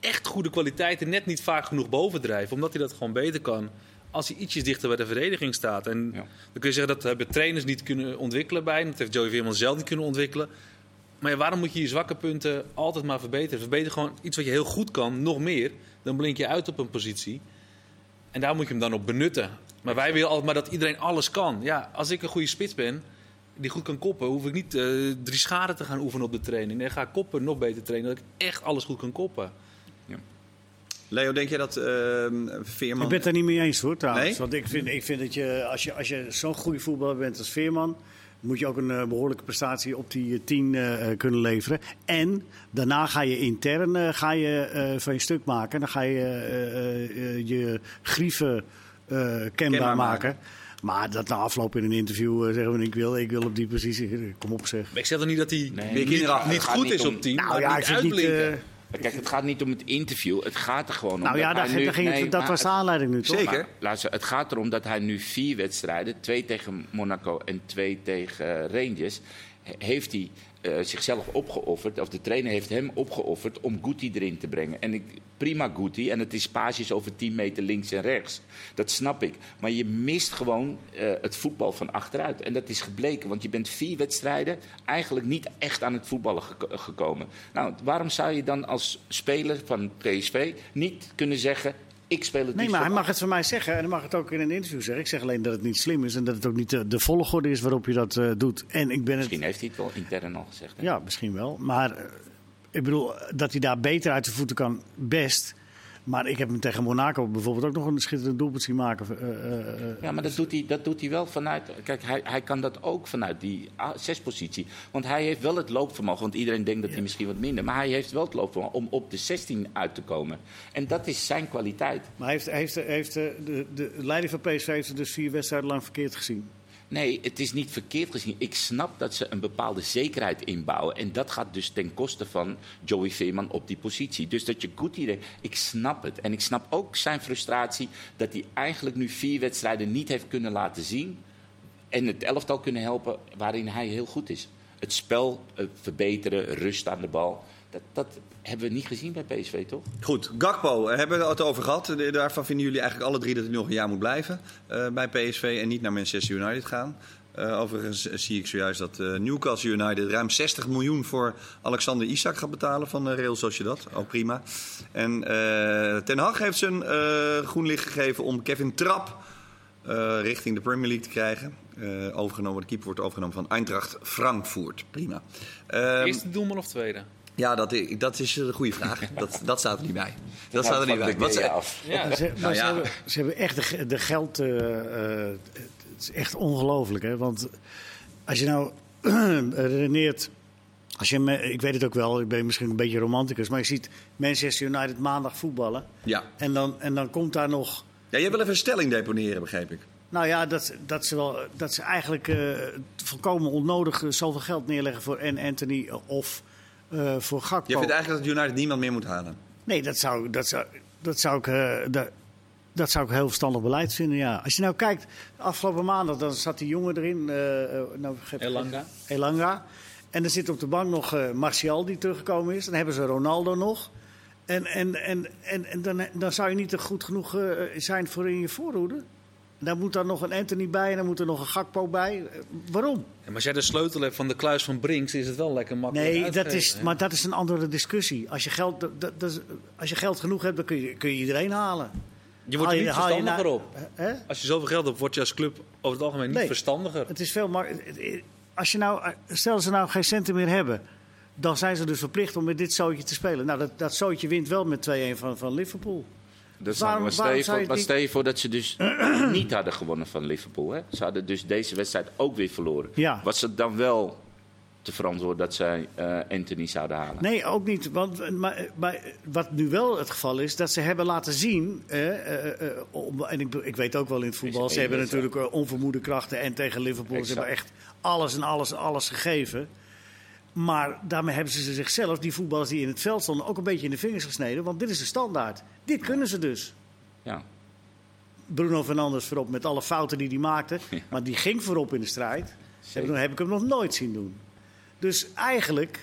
S4: echt goede kwaliteiten net niet vaak genoeg bovendrijven. Omdat hij dat gewoon beter kan als hij ietsjes dichter bij de verdediging staat. En
S2: Ja.
S4: dan kun je zeggen dat hebben trainers niet kunnen ontwikkelen bij hem. Dat heeft Joey Veerman zelf niet kunnen ontwikkelen. Maar ja, waarom moet je je zwakke punten altijd maar verbeteren? Verbeter gewoon iets wat je heel goed kan, nog meer. Dan blink je uit op een positie. En daar moet je hem dan op benutten. Maar wij willen altijd maar dat iedereen alles kan. Ja, als ik een goede spits ben, die goed kan koppen, hoef ik niet eh, drie scharen te gaan oefenen op de training. Nee, ga ik koppen nog beter trainen, dat ik echt alles goed kan koppen.
S1: Eh, Leo, denk jij dat ehm,
S3: Ik
S1: Veerman...
S3: ben het daar niet mee eens hoor trouwens.
S1: Nee?
S3: Want ik vind, ik vind dat je, als je, als je zo'n goede voetballer bent als Veerman... moet je ook een eh, behoorlijke prestatie op die eh, tien eh, eh, kunnen leveren. En daarna ga je intern eh, ga je, eh, van je stuk maken. Dan ga je eh, eh, eh, je grieven eh, kenbaar
S1: maken.
S3: maken. Maar dat na afloop in een interview eh, zeggen we... Ik wil, ik wil op die positie... Kom op zeg.
S4: Maar ik zeg dan niet dat hij
S2: Nee.
S1: Weer kinderachtig.
S4: niet
S2: gaat
S4: goed
S2: niet
S4: is
S2: om-
S4: op team,
S3: Nou
S4: maar
S3: ja, ik
S4: niet
S3: vind niet...
S4: uitblinken.
S3: eh,
S2: Kijk, het gaat niet om het interview. Het gaat er gewoon om.
S3: nou
S2: dat
S3: ja,
S2: hij
S3: daar,
S2: nu-
S3: daar ging het-
S2: nee,
S3: dat
S2: maar
S3: was de
S2: het-
S3: aanleiding nu toch?
S1: Zeker.
S2: Maar, luister, het gaat erom dat hij nu vier wedstrijden, twee tegen Monaco en twee tegen eh, Rangers, he- heeft hij eh, zichzelf opgeofferd, of de trainer heeft hem opgeofferd om Guti erin te brengen. En ik, prima Guti, en het is paasjes over 10 meter links en rechts. Dat snap ik. Maar je mist gewoon eh, het voetbal van achteruit. En dat is gebleken, want je bent vier wedstrijden eigenlijk niet echt aan het voetballen geko- gekomen. Nou, waarom zou je dan als speler van PSV niet kunnen zeggen, ik speel het
S3: Nee,
S2: niet
S3: maar
S2: zo
S3: hij mag het van mij zeggen en hij mag het ook in een interview zeggen. Ik zeg alleen dat het niet slim is en dat het ook niet de, de volgorde is waarop je dat eh, doet. En ik ben het.
S2: Misschien heeft hij het wel intern al gezegd. hè?
S3: Ja, misschien wel. Maar eh, ik bedoel, dat hij daar beter uit zijn voeten kan, best. Maar ik heb hem tegen Monaco bijvoorbeeld ook nog een schitterend doelpunt zien maken. eh, eh, eh.
S2: Ja, maar dat doet, hij, dat doet hij wel vanuit. Kijk, hij, hij kan dat ook vanuit die a- zespositie. Want hij heeft wel het loopvermogen. Want iedereen denkt dat hij misschien wat minder. Maar hij heeft wel het loopvermogen om op de 16 uit te komen. En dat is zijn kwaliteit.
S3: Maar hij heeft, hij heeft, hij heeft eh, de, de leiding van PSV heeft het dus vier wedstrijden lang verkeerd gezien.
S2: Nee, het is niet verkeerd gezien. Ik snap dat ze een bepaalde zekerheid inbouwen. En dat gaat dus ten koste van Joey Veerman op die positie. Dus dat je goed idee. Ik snap het. En ik snap ook zijn frustratie dat hij eigenlijk nu vier wedstrijden niet heeft kunnen laten zien. En het elftal kunnen helpen waarin hij heel goed is. Het spel eh, verbeteren, rust aan de bal. Dat, dat hebben we niet gezien bij PSV, toch?
S1: Goed, Gakpo, eh, hebben we het over gehad. De- Daarvan vinden jullie eigenlijk alle drie dat hij nog een jaar moet blijven eh, bij PSV en niet naar Manchester United gaan. Eh, overigens eh, zie ik zojuist dat eh, Newcastle United ruim 60 miljoen voor Alexander Isak gaat betalen van eh, Real Sociedad. Ook prima. En eh, Ten Hag heeft zijn eh, groen licht gegeven om Kevin Trapp eh, richting de Premier League te krijgen. Eh, overgenomen, de keeper wordt overgenomen van Eintracht Frankfurt. Prima. Ehm,
S4: Eerste doelman of tweede?
S1: ja, dat, i- dat is een goede
S4: <laughs>
S1: vraag. Dat, dat staat er niet bij. Dat staat
S2: Nou,
S1: er niet
S2: van
S1: bij.
S2: de
S1: Wat
S2: Gea
S1: ze-
S2: af.
S4: Ja,
S3: Maar Ze, maar
S1: Nou
S3: ze
S1: ja.
S3: hebben, ze hebben echt de, ge- de geld. eh, eh, het het is echt ongelooflijk. hè? Want als je nou <clears throat> redeneert. Als je, me- ik weet het ook wel, ik ben misschien een beetje romanticus. Maar je ziet Manchester United maandag voetballen.
S1: Ja.
S3: En dan, en dan komt daar nog.
S1: ja, jij wil even een stelling deponeren, begreep ik.
S3: Nou ja, dat, dat, ze, wel, dat ze eigenlijk eh, volkomen onnodig eh, zoveel geld neerleggen voor en Anthony eh, of eh, voor Gakpo.
S1: Jij vindt eigenlijk dat United niemand meer moet halen.
S3: Nee, dat zou, dat zou, dat zou ik. eh, dat, dat zou ik heel verstandig beleid vinden, ja. Als je nou kijkt, afgelopen maandag dan zat die jongen erin. eh, eh, nou, vergeet-
S4: Elanga.
S3: Elanga. En er zit op de bank nog eh, Martial die teruggekomen is. Dan hebben ze Ronaldo nog. En, en, en, en, en dan, dan zou je niet goed genoeg eh, zijn voor in je voorhoede. Daar moet dan nog een Anthony bij en dan moet er nog een Gakpo bij. Eh, waarom?
S4: Ja, Maar als jij de sleutel hebt van de kluis van Brinks, is het wel lekker makkelijk.
S3: Nee,
S4: uitgeven,
S3: dat is,
S4: hè?
S3: maar dat is een andere discussie. Als je geld, dat, dat- dat is- als je geld genoeg hebt, dan kun je, kun je iedereen halen.
S4: Je wordt er niet
S3: Haal je- haal je
S4: verstandiger
S3: na-
S4: op.
S3: Hè?
S4: Als je zoveel geld hebt, word je als club over het algemeen niet
S3: Nee.
S4: verstandiger.
S3: Het is veel maar als je nou, stel ze nou geen centen meer hebben, dan zijn ze dus verplicht om met dit zootje te spelen. Nou, dat, dat zootje wint wel met 2-1 van, van Liverpool.
S2: Dat
S3: Waarom-
S2: waarom, maar stel
S3: waarom
S2: je voor,
S3: zou je het
S2: maar
S3: niet-
S2: stel je voor dat ze dus <clears throat> niet hadden gewonnen van Liverpool. Hè? Ze hadden dus deze wedstrijd ook weer verloren.
S3: Ja.
S2: Was het dan wel te verantwoorden dat zij eh, Anthony zouden halen?
S3: Nee, ook niet. Want, maar, maar wat nu wel het geval is, dat ze hebben laten zien. eh, eh, eh, om- en ik, ik weet ook wel in het voetbal,
S2: Deze
S3: ze hebben
S2: ene wedstrijd.
S3: natuurlijk eh, onvermoede krachten. En tegen Liverpool, ze
S2: Exact.
S3: hebben echt alles en alles en alles gegeven. Maar daarmee hebben ze zichzelf, die voetballers die in het veld stonden, ook een beetje in de vingers gesneden. Want dit is de standaard. Dit kunnen ze dus.
S2: Ja.
S3: Bruno Fernandes voorop met alle fouten die hij maakte. Maar die ging voorop in de strijd. Heb ik, heb ik hem nog nooit zien doen. Dus eigenlijk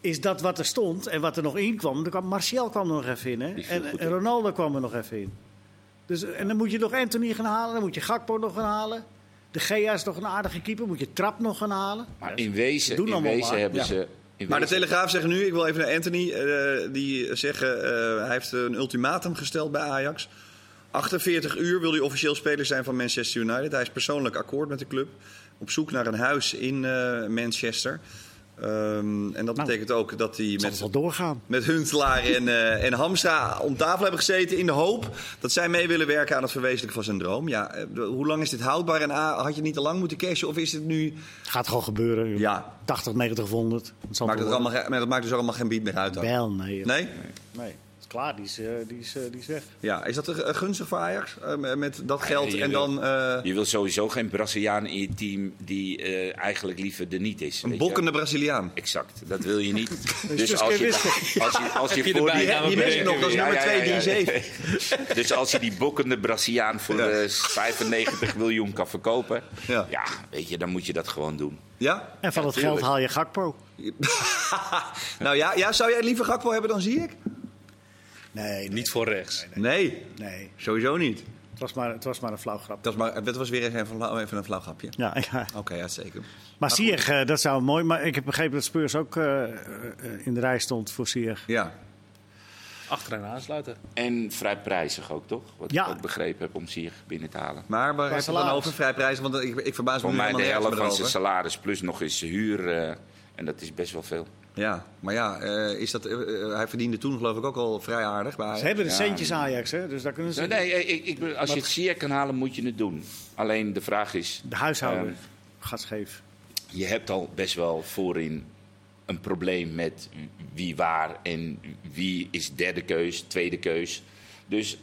S3: is dat wat er stond en wat er nog in kwam. Er kwam Martial kwam er nog even in. Hè?
S2: Die viel
S3: En,
S2: goed
S3: en
S2: in.
S3: Ronaldo kwam er nog even in. Dus, en dan moet je nog Anthony gaan halen, dan moet je Gakpo nog gaan halen. De Gea is nog een aardige keeper, moet je Trap nog gaan halen.
S2: Maar in wezen,
S3: Doen
S2: in
S3: allemaal
S2: wezen
S3: maar.
S2: hebben
S3: Ja.
S2: ze... in
S1: Maar de
S2: wezen-
S1: Telegraaf zegt nu, ik wil even naar Anthony, eh, die zeggen, eh, hij heeft een ultimatum gesteld bij Ajax. 48 uur wil hij officieel speler zijn van Manchester United. Hij is persoonlijk akkoord met de club, op zoek naar een huis in eh, Manchester. Ehm, en dat
S4: Nou.
S1: betekent ook dat hij
S3: Zal het
S1: met,
S3: wel doorgaan.
S1: met Huntelaar en, eh, en Hamza om tafel hebben gezeten in de hoop dat zij mee willen werken aan het verwezenlijken van zijn droom. Ja, eh, de- hoe lang is dit houdbaar en A, had je niet te lang moeten cashen of is het nu...
S3: Het gaat gewoon gebeuren.
S1: Ja.
S3: 80, 90 of 100. Het zal
S1: Maakt het
S3: wel
S1: allemaal, ge- maar dat maakt dus allemaal geen bied meer uit dan?
S3: Wel,
S1: Nee?
S3: nee. Nee, het is klaar. Die is, eh, die is, eh, die is weg.
S1: Ja, is dat eh, gunstig voor Ajax? Eh, met dat geld
S2: je
S1: en
S2: wil-
S1: dan eh,
S2: Je wil sowieso geen Braziliaan in je team die eh, eigenlijk liever er niet is.
S1: een
S2: weet je?
S1: bokkende Braziliaan.
S2: Exact, dat wil
S3: <laughs>
S2: je niet.
S3: dus
S2: Dus als je,
S3: geen
S2: als je, als je
S4: je
S2: voor
S4: erbij
S2: die-
S4: Ja, gaan we
S1: die mis ik
S4: bedenken
S1: nog, dat is
S2: weer.
S1: nummer
S2: Ja, ja, ja, <laughs>
S1: 237.
S2: Dus als je die bokkende Braziliaan voor
S1: Ja.
S2: eh, 95 miljoen kan verkopen,
S1: Ja.
S2: ja. weet je, dan moet je dat gewoon doen.
S1: Ja?
S3: En van
S2: Ja,
S3: dat geld
S2: tuurlijk.
S3: haal je Gakpo.
S1: nou ja, ja, zou jij liever Gakpo hebben dan Ziyech?
S3: Nee, nee,
S4: Niet voor rechts.
S1: Nee,
S3: nee.
S1: sowieso niet.
S3: Het, was maar, het was maar een flauw grap.
S1: Dat, is maar, dat was weer eens even, een flauw- even een flauw grapje.
S3: Ja, ja.
S1: Oké, ja, zeker.
S3: Maar Sieg, eh, dat zou mooi. Maar ik heb begrepen dat Spurs ook eh, eh, in de rij stond voor Sieg.
S1: Ja.
S4: Achteraan aansluiten.
S2: En vrij prijzig ook, toch? Wat
S3: Ja.
S2: ik ook begrepen heb om Sier binnen te halen.
S1: Maar waar heeft het dan
S3: salaris.
S1: over vrijprijzen? Want ik, ik verbaas me
S2: Voor
S1: nu
S2: mij de
S1: helemaal
S2: helft van
S1: nergens meer
S2: zijn salaris plus nog eens zijn huur. eh, en dat is best wel veel.
S1: erover. Ja, maar ja, eh, is dat, eh, eh, hij verdiende toen geloof ik ook al vrij aardig. Maar,
S3: Ze hebben de
S2: Ja.
S3: centjes Ajax, hè? dus daar kunnen ze...
S2: Nee, nee, ik, ik, bedoel, als je het Sier kan halen, moet je het doen. Alleen de vraag is,
S3: De huishouder
S2: Ehm.
S3: gaat scheef.
S2: je hebt al best wel voorin een probleem met wie waar en wie is derde keus, tweede keus. Dus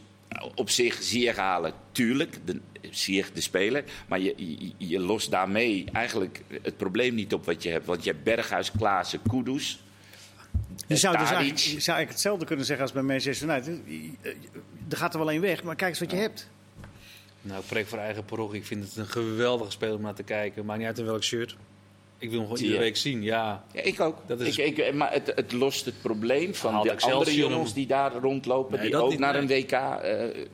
S2: op zich Ziyech halen, tuurlijk, de, Ziyech de speler. Maar je, je, je lost daarmee eigenlijk het probleem niet op wat je hebt. Want je hebt Berghuis, Klaassen, Kudus.
S3: Je zou
S2: Tadic.
S3: dus eigenlijk, je zou eigenlijk hetzelfde kunnen zeggen als bij Manchester United. Je- je- Er gaat er wel één weg, maar kijk eens wat je hebt.
S4: Nou, ik spreek voor eigen parochie. Ik vind het een geweldige speler om naar te kijken. Maakt niet uit in welk shirt. Ik wil hem gewoon
S2: Zie
S4: iedere
S2: je.
S4: week zien, ja.
S2: Ja, ik ook.
S4: Dat is-
S2: ik, ik, maar het, het lost het probleem van
S4: Haal
S2: de
S4: Excelsior
S2: andere
S4: hem.
S2: jongens die daar rondlopen,
S4: Nee,
S2: die
S4: dat
S2: ook
S4: niet,
S2: naar
S4: nee.
S2: een WK. eh, eh,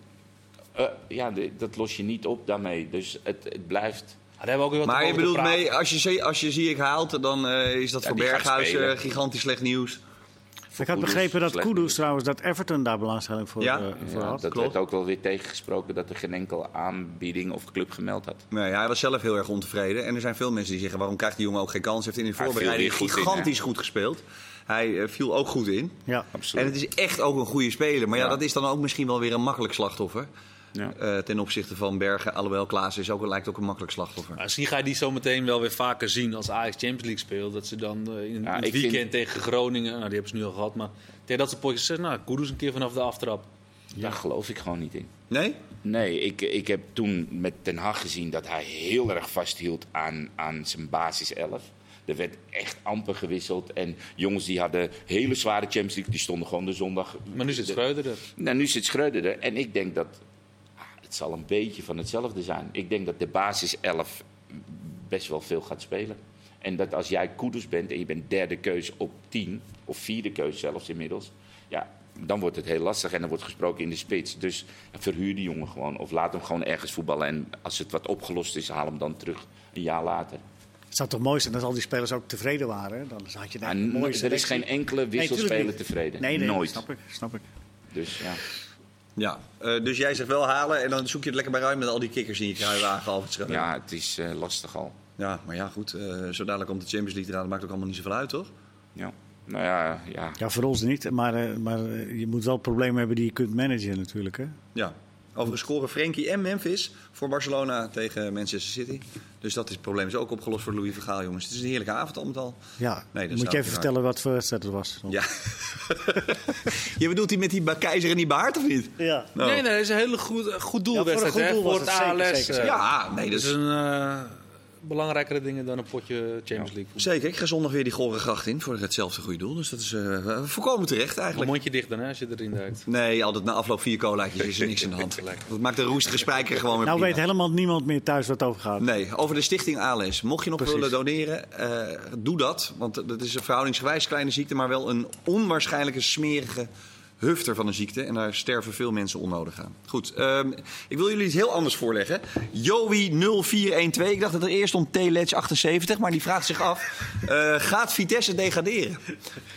S2: ja, de- dat los je niet op daarmee. Dus het, het blijft.
S4: Maar daar hebben we ook weer wat
S1: maar je
S4: over te
S1: bedoelt
S4: praten.
S1: mee, als je, Ziyech- als je Ziyech haalt, dan eh, is dat
S2: Ja,
S1: voor
S2: die gaat
S1: Berghuis eh,
S2: spelen.
S1: gigantisch slecht nieuws.
S3: Ik had
S2: Kudus,
S3: begrepen dat
S2: slecht
S3: Kudus
S2: nieuws.
S3: trouwens, dat Everton daar belangstelling voor,
S1: Ja.
S3: eh, voor
S2: Ja,
S3: had.
S2: dat
S1: klopt.
S2: werd ook wel weer tegengesproken dat er geen enkel aanbieding of club gemeld had.
S1: Nee, hij was zelf heel erg ontevreden. En er zijn veel mensen die zeggen: waarom krijgt die jongen ook geen kans? Heeft in de
S2: viel
S1: voorbereiding
S2: weer goed in,
S1: gigantisch goed gespeeld. Hij eh, viel ook goed in.
S3: Ja.
S1: En het is echt ook een goede speler. Maar ja,
S2: Ja.
S1: dat is dan ook misschien wel weer een makkelijk slachtoffer.
S2: Ja.
S1: Eh, ten opzichte van Bergen. Alhoewel, Klaas is ook, lijkt ook een makkelijk slachtoffer.
S4: Maar misschien ga je die zo meteen wel weer vaker zien als Ajax Champions League speelt. Dat ze dan eh, in, in het
S2: ik
S4: weekend
S2: vind-
S4: tegen Groningen, nou, die hebben ze nu al gehad, maar tegen dat ze potjes zeggen, nou, Kudus een keer vanaf de aftrap.
S2: Daar geloof ik gewoon niet in.
S1: Nee?
S2: Nee, ik, ik heb toen met Ten Hag gezien dat hij heel erg vasthield aan, aan zijn basis 11. Er werd echt amper gewisseld. En jongens die hadden hele zware Champions League, die stonden gewoon de zondag.
S4: Maar nu zit Schreuder er.
S2: Nou, nu zit Schreuder er. En ik denk dat ah, het zal een beetje van hetzelfde zijn. Ik denk dat de basis 11 best wel veel gaat spelen. En dat als jij Koeders bent en je bent derde keus op 10, of vierde keus zelfs inmiddels, ja, dan wordt het heel lastig en dan wordt gesproken in de spits. Dus verhuur die jongen gewoon of laat hem gewoon ergens voetballen. En als het wat opgelost is, haal hem dan terug een jaar later.
S3: Het zou toch mooi zijn als al die spelers ook tevreden waren. hè? Dan had je daar
S2: Maar
S3: een mooie
S2: Ah, er is
S3: selectie.
S2: geen enkele
S3: Nee, tuurlijk
S2: wisselspeler
S3: niet.
S2: tevreden.
S3: Nee, nee,
S2: Nooit.
S3: Snap ik, snap ik.
S2: Dus ja.
S1: Ja. Eh, dus jij zegt wel halen en dan zoek je het lekker bij ruim met al die kikkers die je kruiwagen al verschillen.
S2: ja, het is eh, lastig al.
S1: ja, maar ja, goed. eh, zo dadelijk komt de Champions League eraan. Dat maakt ook allemaal niet zoveel uit, toch?
S2: Ja. Nou ja, ja.
S3: Ja, voor ons niet. Maar, eh, maar eh, je moet wel problemen hebben die je kunt managen natuurlijk. Hè?
S1: Ja. Overigens scoren Frenkie en Memphis voor Barcelona tegen Manchester City. Dus dat is, het probleem is ook opgelost voor Louis Vergaal, jongens. Het is een heerlijke avond allemaal al.
S3: Ja,
S1: Nee, dat
S3: moet
S1: snap
S3: je
S1: ik
S3: even vertellen wat voor wedstrijd het was.
S1: Ja. <laughs> je bedoelt die met die ba- keizer en die baard, of niet?
S3: Ja.
S1: Nou.
S4: Nee, nee, dat is een hele goed, goed doel.
S3: Ja, voor een goed doel was
S4: het
S3: het zeker,
S4: ALS.
S3: zeker,
S4: eh,
S1: Ja, nee,
S4: Dat
S1: dat
S4: is
S1: is...
S4: een eh, belangrijkere dingen dan een potje Champions League voetbal.
S1: Zeker, ik ga zondag weer die gore gracht in voor hetzelfde goede doel. Dus dat is eh, voorkomen terecht
S4: Een
S1: eigenlijk.
S4: mondje dicht dan, hè, als je erin duikt.
S1: Nee, altijd na afloop vier colaatjes is er niks aan de hand. Dat maakt de roestige spijker gewoon weer
S3: Nou weet
S1: prima.
S3: helemaal niemand meer thuis wat over gaat.
S1: Nee, over de stichting ALS. Mocht je nog
S3: Precies.
S1: willen doneren, eh, doe dat. Want dat is een verhoudingsgewijs kleine ziekte, maar wel een onwaarschijnlijke smerige hufter van een ziekte. En daar sterven veel mensen onnodig aan. Goed, ehm, ik wil jullie iets heel anders voorleggen. Joey0412, ik dacht dat er eerst om E T-Ledge 78, maar die vraagt zich af. eh, gaat Vitesse degraderen?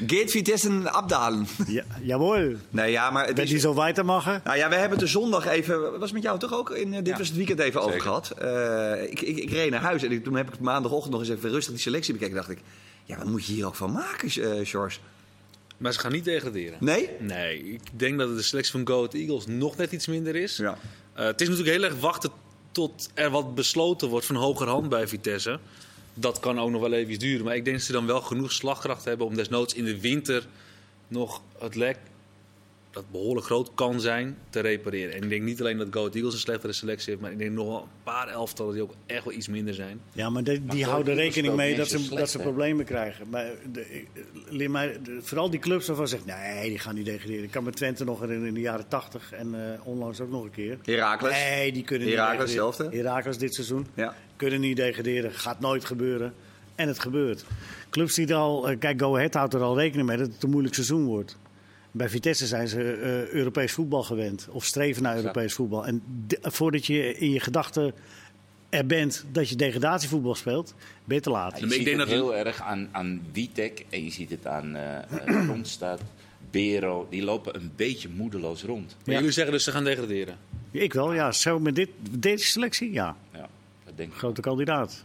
S1: Geht Vitesse abdalen?
S3: Ja, jawohl.
S1: <laughs> Nee, ja, maar het
S3: Wenn
S1: is...
S3: die zo weitermachen.
S1: Nou ja, we hebben het de zondag even. Was met jou toch ook? In, eh, dit was het weekend even over gehad. Eh, ik, ik, ik reed naar huis en ik- toen heb ik maandagochtend nog eens even rustig die selectie bekeken. Dacht ik, ja, wat moet je hier ook van maken, eh George?
S4: Maar ze gaan niet degraderen.
S1: Nee?
S4: Nee, ik denk dat de selectie van Go Ahead Eagles nog net iets minder is.
S1: Ja.
S4: Eh, het is natuurlijk heel erg wachten tot er wat besloten wordt van hogerhand bij Vitesse. Dat kan ook nog wel even duren. Maar ik denk dat ze dan wel genoeg slagkracht hebben om desnoods in de winter nog het lek, dat behoorlijk groot kan zijn, te repareren. En ik denk niet alleen dat Go Ahead Eagles een slechtere selectie heeft, maar ik denk nog wel een paar elftallen die ook echt wel iets minder zijn.
S3: Ja, maar die, die
S2: zo
S3: houden
S2: goed
S3: rekening
S2: gespeeld,
S3: mee
S2: niet
S3: dat
S2: zo
S3: ze,
S2: slecht,
S3: dat ze
S2: hè?
S3: problemen krijgen. Maar, de, ik- leer mij- de- vooral die clubs waarvan zegt, nee, die gaan niet degraderen. Ik kan me Twente nog herinneren in de jaren 80 en eh, onlangs ook nog een keer.
S1: Herakles.
S3: Nee, die kunnen
S1: Heracles,
S3: niet degraderen.
S1: hetzelfde.
S3: Heracles dit seizoen.
S1: Ja.
S3: Kunnen niet degraderen. Gaat nooit gebeuren. En het gebeurt. Clubs die er al... eh, Kijk, Go Ahead houdt er al rekening mee dat het een moeilijk seizoen wordt. Bij Vitesse zijn ze eh, Europees voetbal gewend. Of streven naar Europees voetbal. En de- voordat je in je gedachten er bent dat je degradatievoetbal speelt, ben je te laat.
S2: Je
S4: Maar ik
S2: ziet
S4: denk
S2: het
S4: dat-
S2: heel erg aan, aan Witek en je ziet het aan eh, eh Rondstad, Bero. Die lopen een beetje moedeloos rond.
S4: Maar
S3: Ja.
S4: jullie zeggen dus ze gaan degraderen.
S3: Ik wel, ja. Zo met dit, deze selectie, ja.
S2: Ja, dat denk ik.
S3: Grote kandidaat.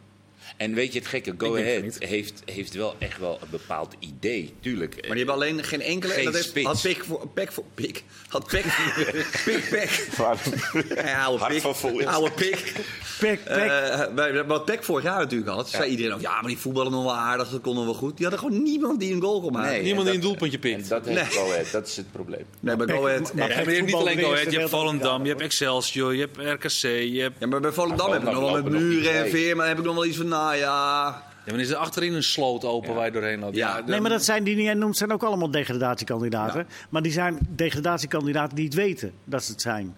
S2: En weet je het gekke? Go
S4: denk het
S2: Ahead
S4: niet.
S2: heeft, heeft wel echt wel een bepaald idee, tuurlijk.
S1: Maar die hebben alleen geen enkele.
S2: Geen
S1: en dat heeft,
S2: spits.
S1: had pik voor. Pik voor. Pik. Had pik.
S3: <laughs>
S1: pik. Pik.
S2: <laughs>
S1: Ja, oude
S2: Hart
S1: pik.
S2: van vol is.
S1: Oude pik.
S3: Pek, pek.
S1: Eh, bij- wat Peck vorig jaar natuurlijk had, zei iedereen ook: ja, maar die voetballen nog wel aardig, dat konden wel goed. Die hadden gewoon niemand die een goal kon maken.
S2: Nee.
S1: Nee,
S4: Niemand
S2: dat-
S4: die een doelpuntje
S2: En
S4: pikt.
S2: dat heeft
S1: Nee.
S2: Go Ahead, dat is het probleem.
S1: maar
S3: Peck-
S1: Go Ahead-
S3: maar- maar
S1: Ja,
S4: Ja, maar je hebt niet alleen Go Ahead, je hebt
S3: Voetbal in de
S4: Volendam, je hebt
S3: wereld.
S4: Excelsior, je hebt RKC, je hebt...
S1: Ja, maar bij Volendam
S2: Maar
S1: heb ik nog wel
S2: Volendam
S1: met
S2: lopen
S1: muren
S2: nog niet
S1: en
S2: mee.
S1: veer, maar heb ik nog wel iets van, nou ja.
S4: Ja, maar is er achterin een sloot open waar je doorheen loopt?
S1: Ja.
S3: Nee, maar dat zijn die die jij noemt, zijn ook allemaal degradatiekandidaten. Maar die zijn degradatiekandidaten die het weten dat ze het zijn.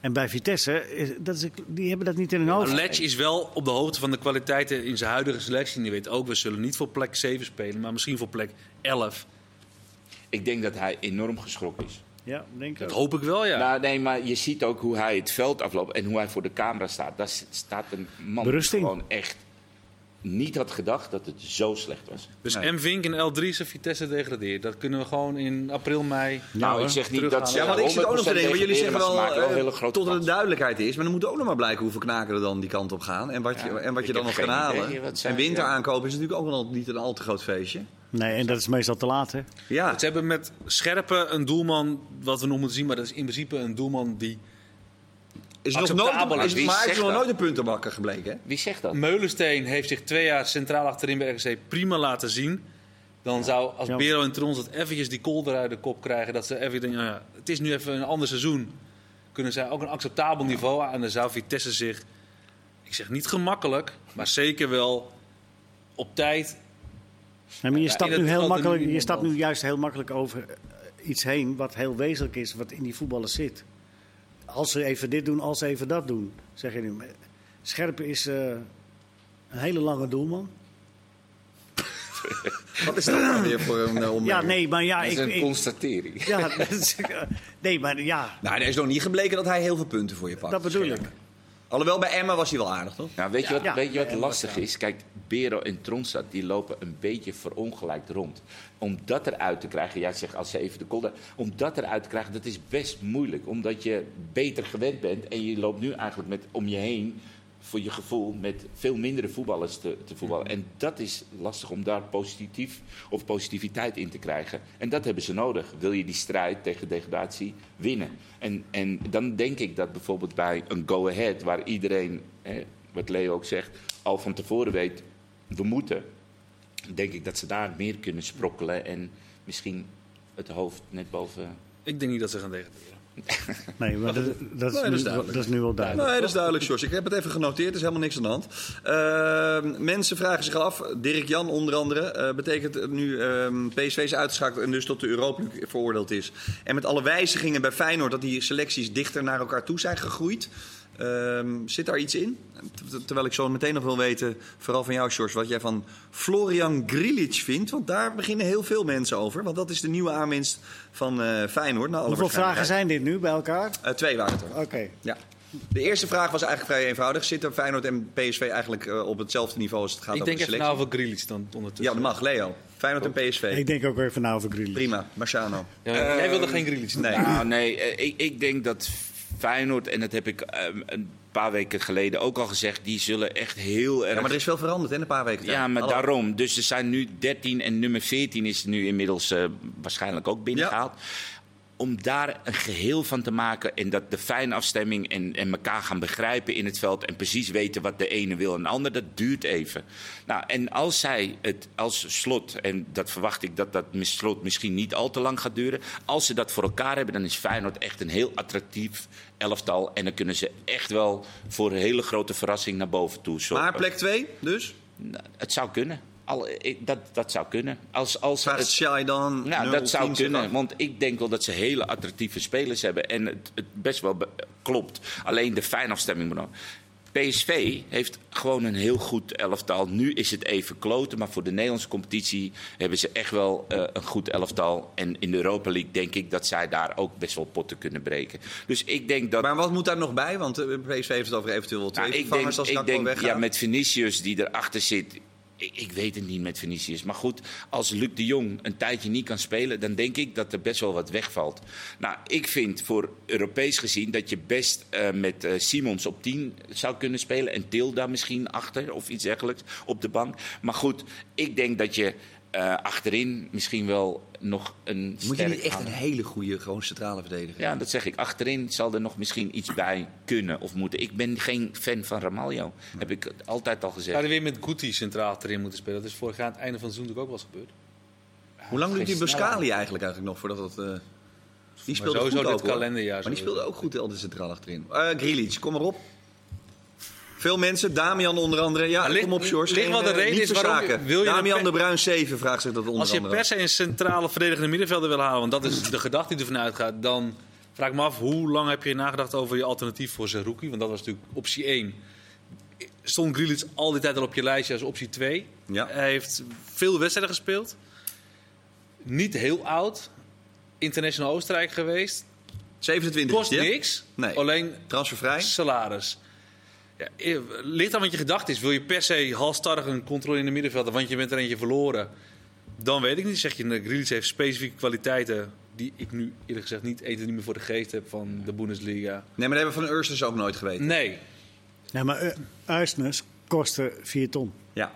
S3: En bij Vitesse, is, dat is, een- die hebben dat niet in hun hoofd.
S4: Ledge is wel op de hoogte van de kwaliteiten in zijn huidige selectie. En die weet ook, we zullen niet voor plek 7 spelen, maar misschien voor plek 11.
S2: Ik denk dat hij enorm geschrokken is.
S3: Ja, denk ik
S4: Dat
S3: ook.
S4: hoop ik wel, ja.
S2: Nou, nee, maar je ziet ook hoe hij het veld afloopt en hoe hij voor de camera staat. Daar s- staat een man
S3: Berusting.
S2: die gewoon echt niet had gedacht dat het zo slecht was.
S4: dus M. Vink en L3 zijn Vitesse degradeert. Dat kunnen we gewoon in april, mei...
S2: nou, ik zeg niet dat ze
S1: Ja, want ik zit ook nog te
S2: 100%
S1: denken, want jullie zeggen
S2: degraderen,
S1: wel,
S2: maar ze maken
S1: eh,
S2: hele grote
S1: tot er de
S2: kans.
S1: duidelijkheid is. Maar dan moet ook nog maar blijken hoeveel knaken er dan die kant op gaan. En wat je,
S2: Ja,
S1: en wat
S2: ik
S1: je dan
S2: heb
S1: nog kan
S2: geen idee
S1: halen.
S2: wat zij-
S1: En winter
S2: ja.
S1: aankopen is natuurlijk ook nog niet een al te groot feestje.
S3: Nee, en dat is meestal te laat, hè?
S1: Ja,
S4: Ze hebben met Scherpe een doelman, wat we nog moeten zien, maar dat is in principe een doelman die...
S1: is nog
S4: acceptabel
S1: nooit,
S4: is.
S1: is,
S2: Wie
S1: maar hij is
S2: zegt
S1: nog
S2: dat?
S1: nooit een puntenbakker gebleken. hè?
S2: Wie zegt dat?
S4: Meulensteen heeft zich twee jaar centraal achterin bij RKC prima laten zien. Dan zou als
S3: Ja.
S4: Bero en Trons dat eventjes die kolder uit de kop krijgen. Dat ze even denken, nou ja, het is nu even een ander seizoen. Kunnen zij ook een acceptabel niveau aan. En dan zou Vitesse zich, ik zeg niet gemakkelijk, maar zeker wel op tijd.
S3: Nee, maar je
S4: Ja,
S3: stapt,
S4: dat
S3: nu,
S4: is
S3: heel
S4: altijd
S3: makkelijk,
S4: een
S3: je
S4: minimum
S3: stapt
S4: dan.
S3: nu juist heel makkelijk over eh, iets heen wat heel wezenlijk is, wat in die voetballers zit. Als ze even dit doen, als ze even dat doen, zeg je nu. Maar Scherpe is eh, een hele lange doelman.
S1: Wat is dat nou weer voor een
S3: <laughs>
S1: eh,
S3: Ja,
S1: opmerking?
S3: nee, maar ja,
S2: dat is
S3: ik...
S2: een
S3: ik-
S2: constatering.
S3: ja, dat is- nee, maar ja,
S1: Nou, er is nog niet gebleken dat hij heel veel punten voor je pakt.
S3: dat bedoel ik.
S1: Alhoewel, bij Emma was hij wel aardig, toch?
S2: Nou, weet je wat,
S3: Ja.
S2: weet je wat
S3: Ja,
S2: lastig is? Kijk, Bero en Tronstad die lopen een beetje verongelijkt rond. Om dat eruit te krijgen, jij zegt als ze even de kolder. Om dat eruit te krijgen, dat is best moeilijk. Omdat je beter gewend bent en je loopt nu eigenlijk met, om je heen. Voor je gevoel met veel mindere voetballers te, te voetballen. En dat is lastig om daar positief of positiviteit in te krijgen. En dat hebben ze nodig. Wil je die strijd tegen degradatie winnen? En, en dan denk ik dat bijvoorbeeld bij een go-ahead, waar iedereen hè, wat Leo ook zegt, al van tevoren weet, we moeten. Denk ik dat ze daar meer kunnen sprokkelen en misschien het hoofd net boven.
S4: Ik denk niet dat ze gaan
S1: Nou,
S4: degraderen.
S3: Nee, maar dat, dat, is,
S1: Nee, dat is
S3: nu,
S1: duidelijk.
S3: dat is nu wel duidelijk.
S1: Nee, dat is duidelijk, George. Ik heb het even genoteerd, er is helemaal niks aan de hand. Ehm, mensen vragen zich af, Dirk Jan onder andere, eh, betekent het nu ehm PSV is uitgeschakeld en dus tot de Europa League veroordeeld is. En met alle wijzigingen bij Feyenoord dat die selecties dichter naar elkaar toe zijn gegroeid. Eh, Ehm, zit daar iets in? Ter- Terwijl ik zo meteen nog wil weten, vooral van jou, George, wat jij van Florian Grilic vindt. Want daar beginnen heel veel mensen over. Want dat is de nieuwe aanwinst van eh Feyenoord. Nou,
S3: Hoeveel vragen zijn dit nu bij elkaar?
S1: Eh, twee waren het er.
S3: Oké.
S1: Ja. De eerste vraag was eigenlijk vrij eenvoudig. Zitten Feyenoord en PSV eigenlijk eh, op hetzelfde niveau als het gaat
S4: Ik
S1: over
S4: denk
S1: de
S4: even
S1: selectie?
S4: nou over Grealish dan ondertussen.
S1: ja, dat mag. Leo. Feyenoord en PSV.
S3: Ik denk ook even na over Grealish.
S1: Prima. Marciano.
S4: Ja, jij wilde geen Grealish.
S1: Ehm, Nee.
S2: Nou, nee, eh, ik, ik denk dat Feyenoord, en dat heb ik ehm, een paar weken geleden ook al gezegd, die zullen echt heel erg.
S1: Ja, maar er is veel veranderd hè, in een paar weken. tijd.
S2: Ja, maar
S1: Hallo.
S2: daarom. Dus er zijn nu 13 en nummer 14 is nu inmiddels eh, waarschijnlijk ook binnengehaald. Om daar een geheel van te maken en dat de fijnafstemming en, en elkaar gaan begrijpen in het veld. En precies weten wat de ene wil en de ander, dat duurt even. Nou, en als zij het als slot, en dat verwacht ik dat dat mis- slot misschien niet al te lang gaat duren. Als ze dat voor elkaar hebben, dan is Feyenoord echt een heel attractief elftal. En dan kunnen ze echt wel voor een hele grote verrassing naar boven toe. zorgen.
S1: Maar plek 2 dus?
S2: Nou, Het zou kunnen. Al, ik- dat, dat zou kunnen. Als, als
S1: Vraagt
S2: het,
S1: Shai dan.
S2: nou,
S1: 0,
S2: dat zou
S1: 10, zeg
S2: kunnen.
S1: maar.
S2: Want ik denk wel dat ze hele attractieve spelers hebben. En het, het best wel be- klopt. Alleen de fijnafstemming moet nog. PSV heeft gewoon een heel goed elftal. Nu is het even kloten, maar voor de Nederlandse competitie hebben ze echt wel eh, een goed elftal. En in de Europa League denk ik dat zij daar ook best wel potten kunnen breken. Dus ik denk dat
S1: Maar wat moet daar nog bij? Want eh, PSV heeft het over eventueel wel twee
S2: nou, ik denk,
S1: vervangers als
S2: ik
S1: Gakpo
S2: denk
S1: weggaat.
S2: ja, met Vinicius die erachter zit. Ik, ik weet het niet met Vinicius. Maar goed, als Luc de Jong een tijdje niet kan spelen, dan denk ik dat er best wel wat wegvalt. Nou, ik vind voor Europees gezien dat je best eh, met eh, Simons op 10 zou kunnen spelen. En Tilda misschien achter of iets dergelijks op de bank. Maar goed, ik denk dat je eh, achterin misschien wel nog een.
S1: Moet je
S2: sterk
S1: niet echt een
S2: aanhanger-
S1: hele goede gewoon centrale verdediger
S2: ja, dat zeg ik. Achterin zal er nog misschien iets bij kunnen of moeten. Ik ben geen fan van Ramaljo. Heb ik altijd al gezegd.
S4: Zouden we weer met Guti centraal achterin moeten spelen? Dat is vorig jaar aan het einde van het seizoen natuurlijk ook wel eens gebeurd.
S1: Hoe lang doet die
S2: Geen
S1: Buscali eigenlijk, eigenlijk nog voordat dat... eh, die speelde
S4: sowieso
S1: goed
S4: dit
S1: ook, hoor. Maar
S4: kalenderjaar
S1: die
S4: sowieso.
S1: speelde ook goed al de centraal achterin. Eh Grealish, kom maar op. Veel mensen, Damian onder andere. Ja,
S4: Maar ligt-
S1: kom op, George.
S4: ligt wel de
S1: Geen, eh,
S4: reden
S1: niet
S4: is waarom
S1: verzaken.
S4: je- wil je
S1: Damian
S4: een pe-
S1: de Bruin 7 vraagt zich dat onder
S4: Als je
S1: andere.
S4: per se een centrale verdedigende middenvelder wil halen, want dat is de gedachte die ervan uitgaat, dan vraag ik me af hoe lang heb je nagedacht over je alternatief voor Zerouki? Want dat was natuurlijk optie 1. Stond Grealish al die tijd al op je lijstje als optie 2.
S1: Ja.
S4: Hij heeft veel wedstrijden gespeeld. Niet heel oud. International Oostenrijk geweest.
S1: 27
S4: Kost
S1: is die, hè?
S4: niks.
S1: Nee.
S4: Alleen
S1: Transfervrij.
S4: salaris. Ja, eh, ligt aan wat je gedacht is. Wil je per se halstarrig een controlerende middenvelder, want je bent er eentje verloren? Dan weet ik niet. Zeg je, eh, Grealish heeft specifieke kwaliteiten die ik nu eerlijk gezegd niet eten niet meer voor de geest heb van de Bundesliga.
S1: Nee, maar dat hebben we van Ursus ook nooit geweten.
S4: Nee.
S3: Nee, maar eh, Uisnes kostte 4 ton.
S1: Ja.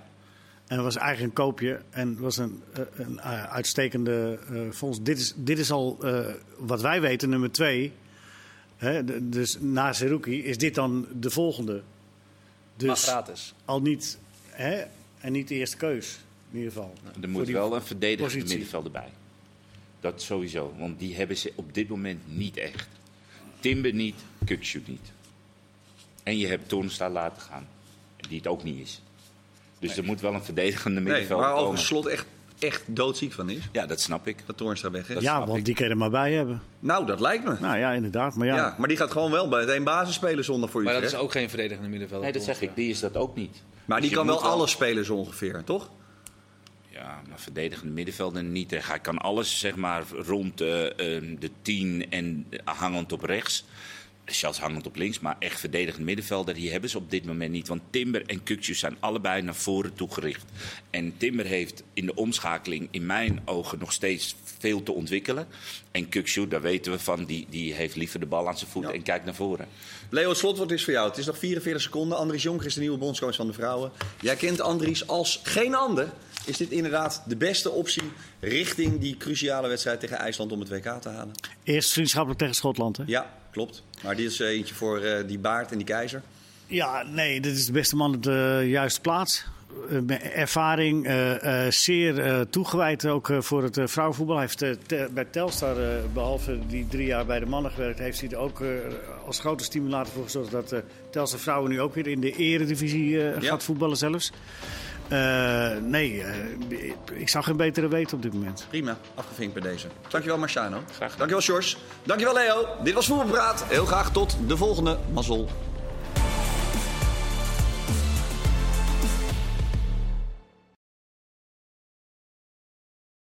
S3: En dat was eigenlijk een koopje en het was een, eh, een eh, uitstekende eh, fonds. Dit is, dit is al, eh, wat wij weten, nummer twee. Hè, d- dus na Seruki is dit dan de volgende.
S4: Maar
S3: Dus
S4: gratis.
S3: al niet, hè, en niet de eerste keus in ieder geval.
S2: Nou, Er
S3: Voor
S2: moet
S3: die-
S2: wel een verdedigende
S3: positie.
S2: middenvelder bij. Dat sowieso. Want die hebben ze op dit moment niet echt. Timber niet, Kuksu niet. En je hebt Toornstra laten gaan. Die het ook niet is. Dus er moet wel een verdedigende
S1: Nee,
S2: middenvelder
S1: waar
S2: komen.
S1: overigens Slot echt, echt doodziek van is.
S2: Ja, dat snap ik.
S1: Dat Toornstra weg is.
S3: Ja,
S2: snap
S3: want
S2: ik.
S3: die kan je er maar bij hebben.
S1: Nou, dat lijkt me.
S3: Nou ja, inderdaad. Maar
S1: Ja.
S3: ja,
S1: maar die gaat gewoon wel bij het één basis spelen zonder voor
S4: Maar dat
S1: Utrecht.
S4: is ook geen verdedigende middenvelder.
S2: Nee, dat zeg ik. Die is dat ook niet.
S1: Maar
S2: Dus
S1: die
S2: je
S1: kan wel
S2: moet
S1: alles spelen zo ongeveer, toch?
S2: Ja, maar verdedigende middenvelder niet. echt. Hij kan alles zeg maar, rond eh, eh, de 10 en hangend op rechts. Zelfs hangend op links, maar echt verdedigend middenvelder, die hebben ze op dit moment niet. Want Timber en Kukju zijn allebei naar voren toegericht. En Timber heeft in de omschakeling in mijn ogen nog steeds veel te ontwikkelen. En Kukju, daar weten we van, die, die heeft liever de bal aan zijn voet en kijkt naar voren.
S1: Leo, het slotwoord is voor jou. Het is nog 44 seconden. Andries Jonker is de nieuwe bondscoach van de vrouwen. Jij kent Andries als geen ander. Is dit inderdaad de beste optie richting die cruciale wedstrijd tegen IJsland om het WK te halen?
S3: eerst vriendschappelijk tegen Schotland. Hè?
S1: Ja, klopt. Maar dit is eh, eentje voor eh, die baard en die keizer.
S3: Ja, nee, dit is de beste man op de juiste plaats. Eh, met ervaring, eh, eh, zeer eh, toegewijd ook eh, voor het eh, vrouwenvoetbal. Hij heeft eh, te- bij Telstar, eh, behalve die drie jaar bij de mannen gewerkt, heeft hij er ook eh, als grote stimulator voor gezorgd dat eh, Telstar Vrouwen nu ook weer in de eredivisie eh,
S1: Ja.
S3: gaat voetballen zelfs. Eh, nee, eh, ik zou geen betere weten op dit moment.
S1: Prima, afgevinkt bij deze. Dankjewel Marciano.
S2: gedaan.
S1: Dankjewel Sjors. Dankjewel Leo. Dit was Voetbalpraat. Heel graag tot de volgende. Mazzel.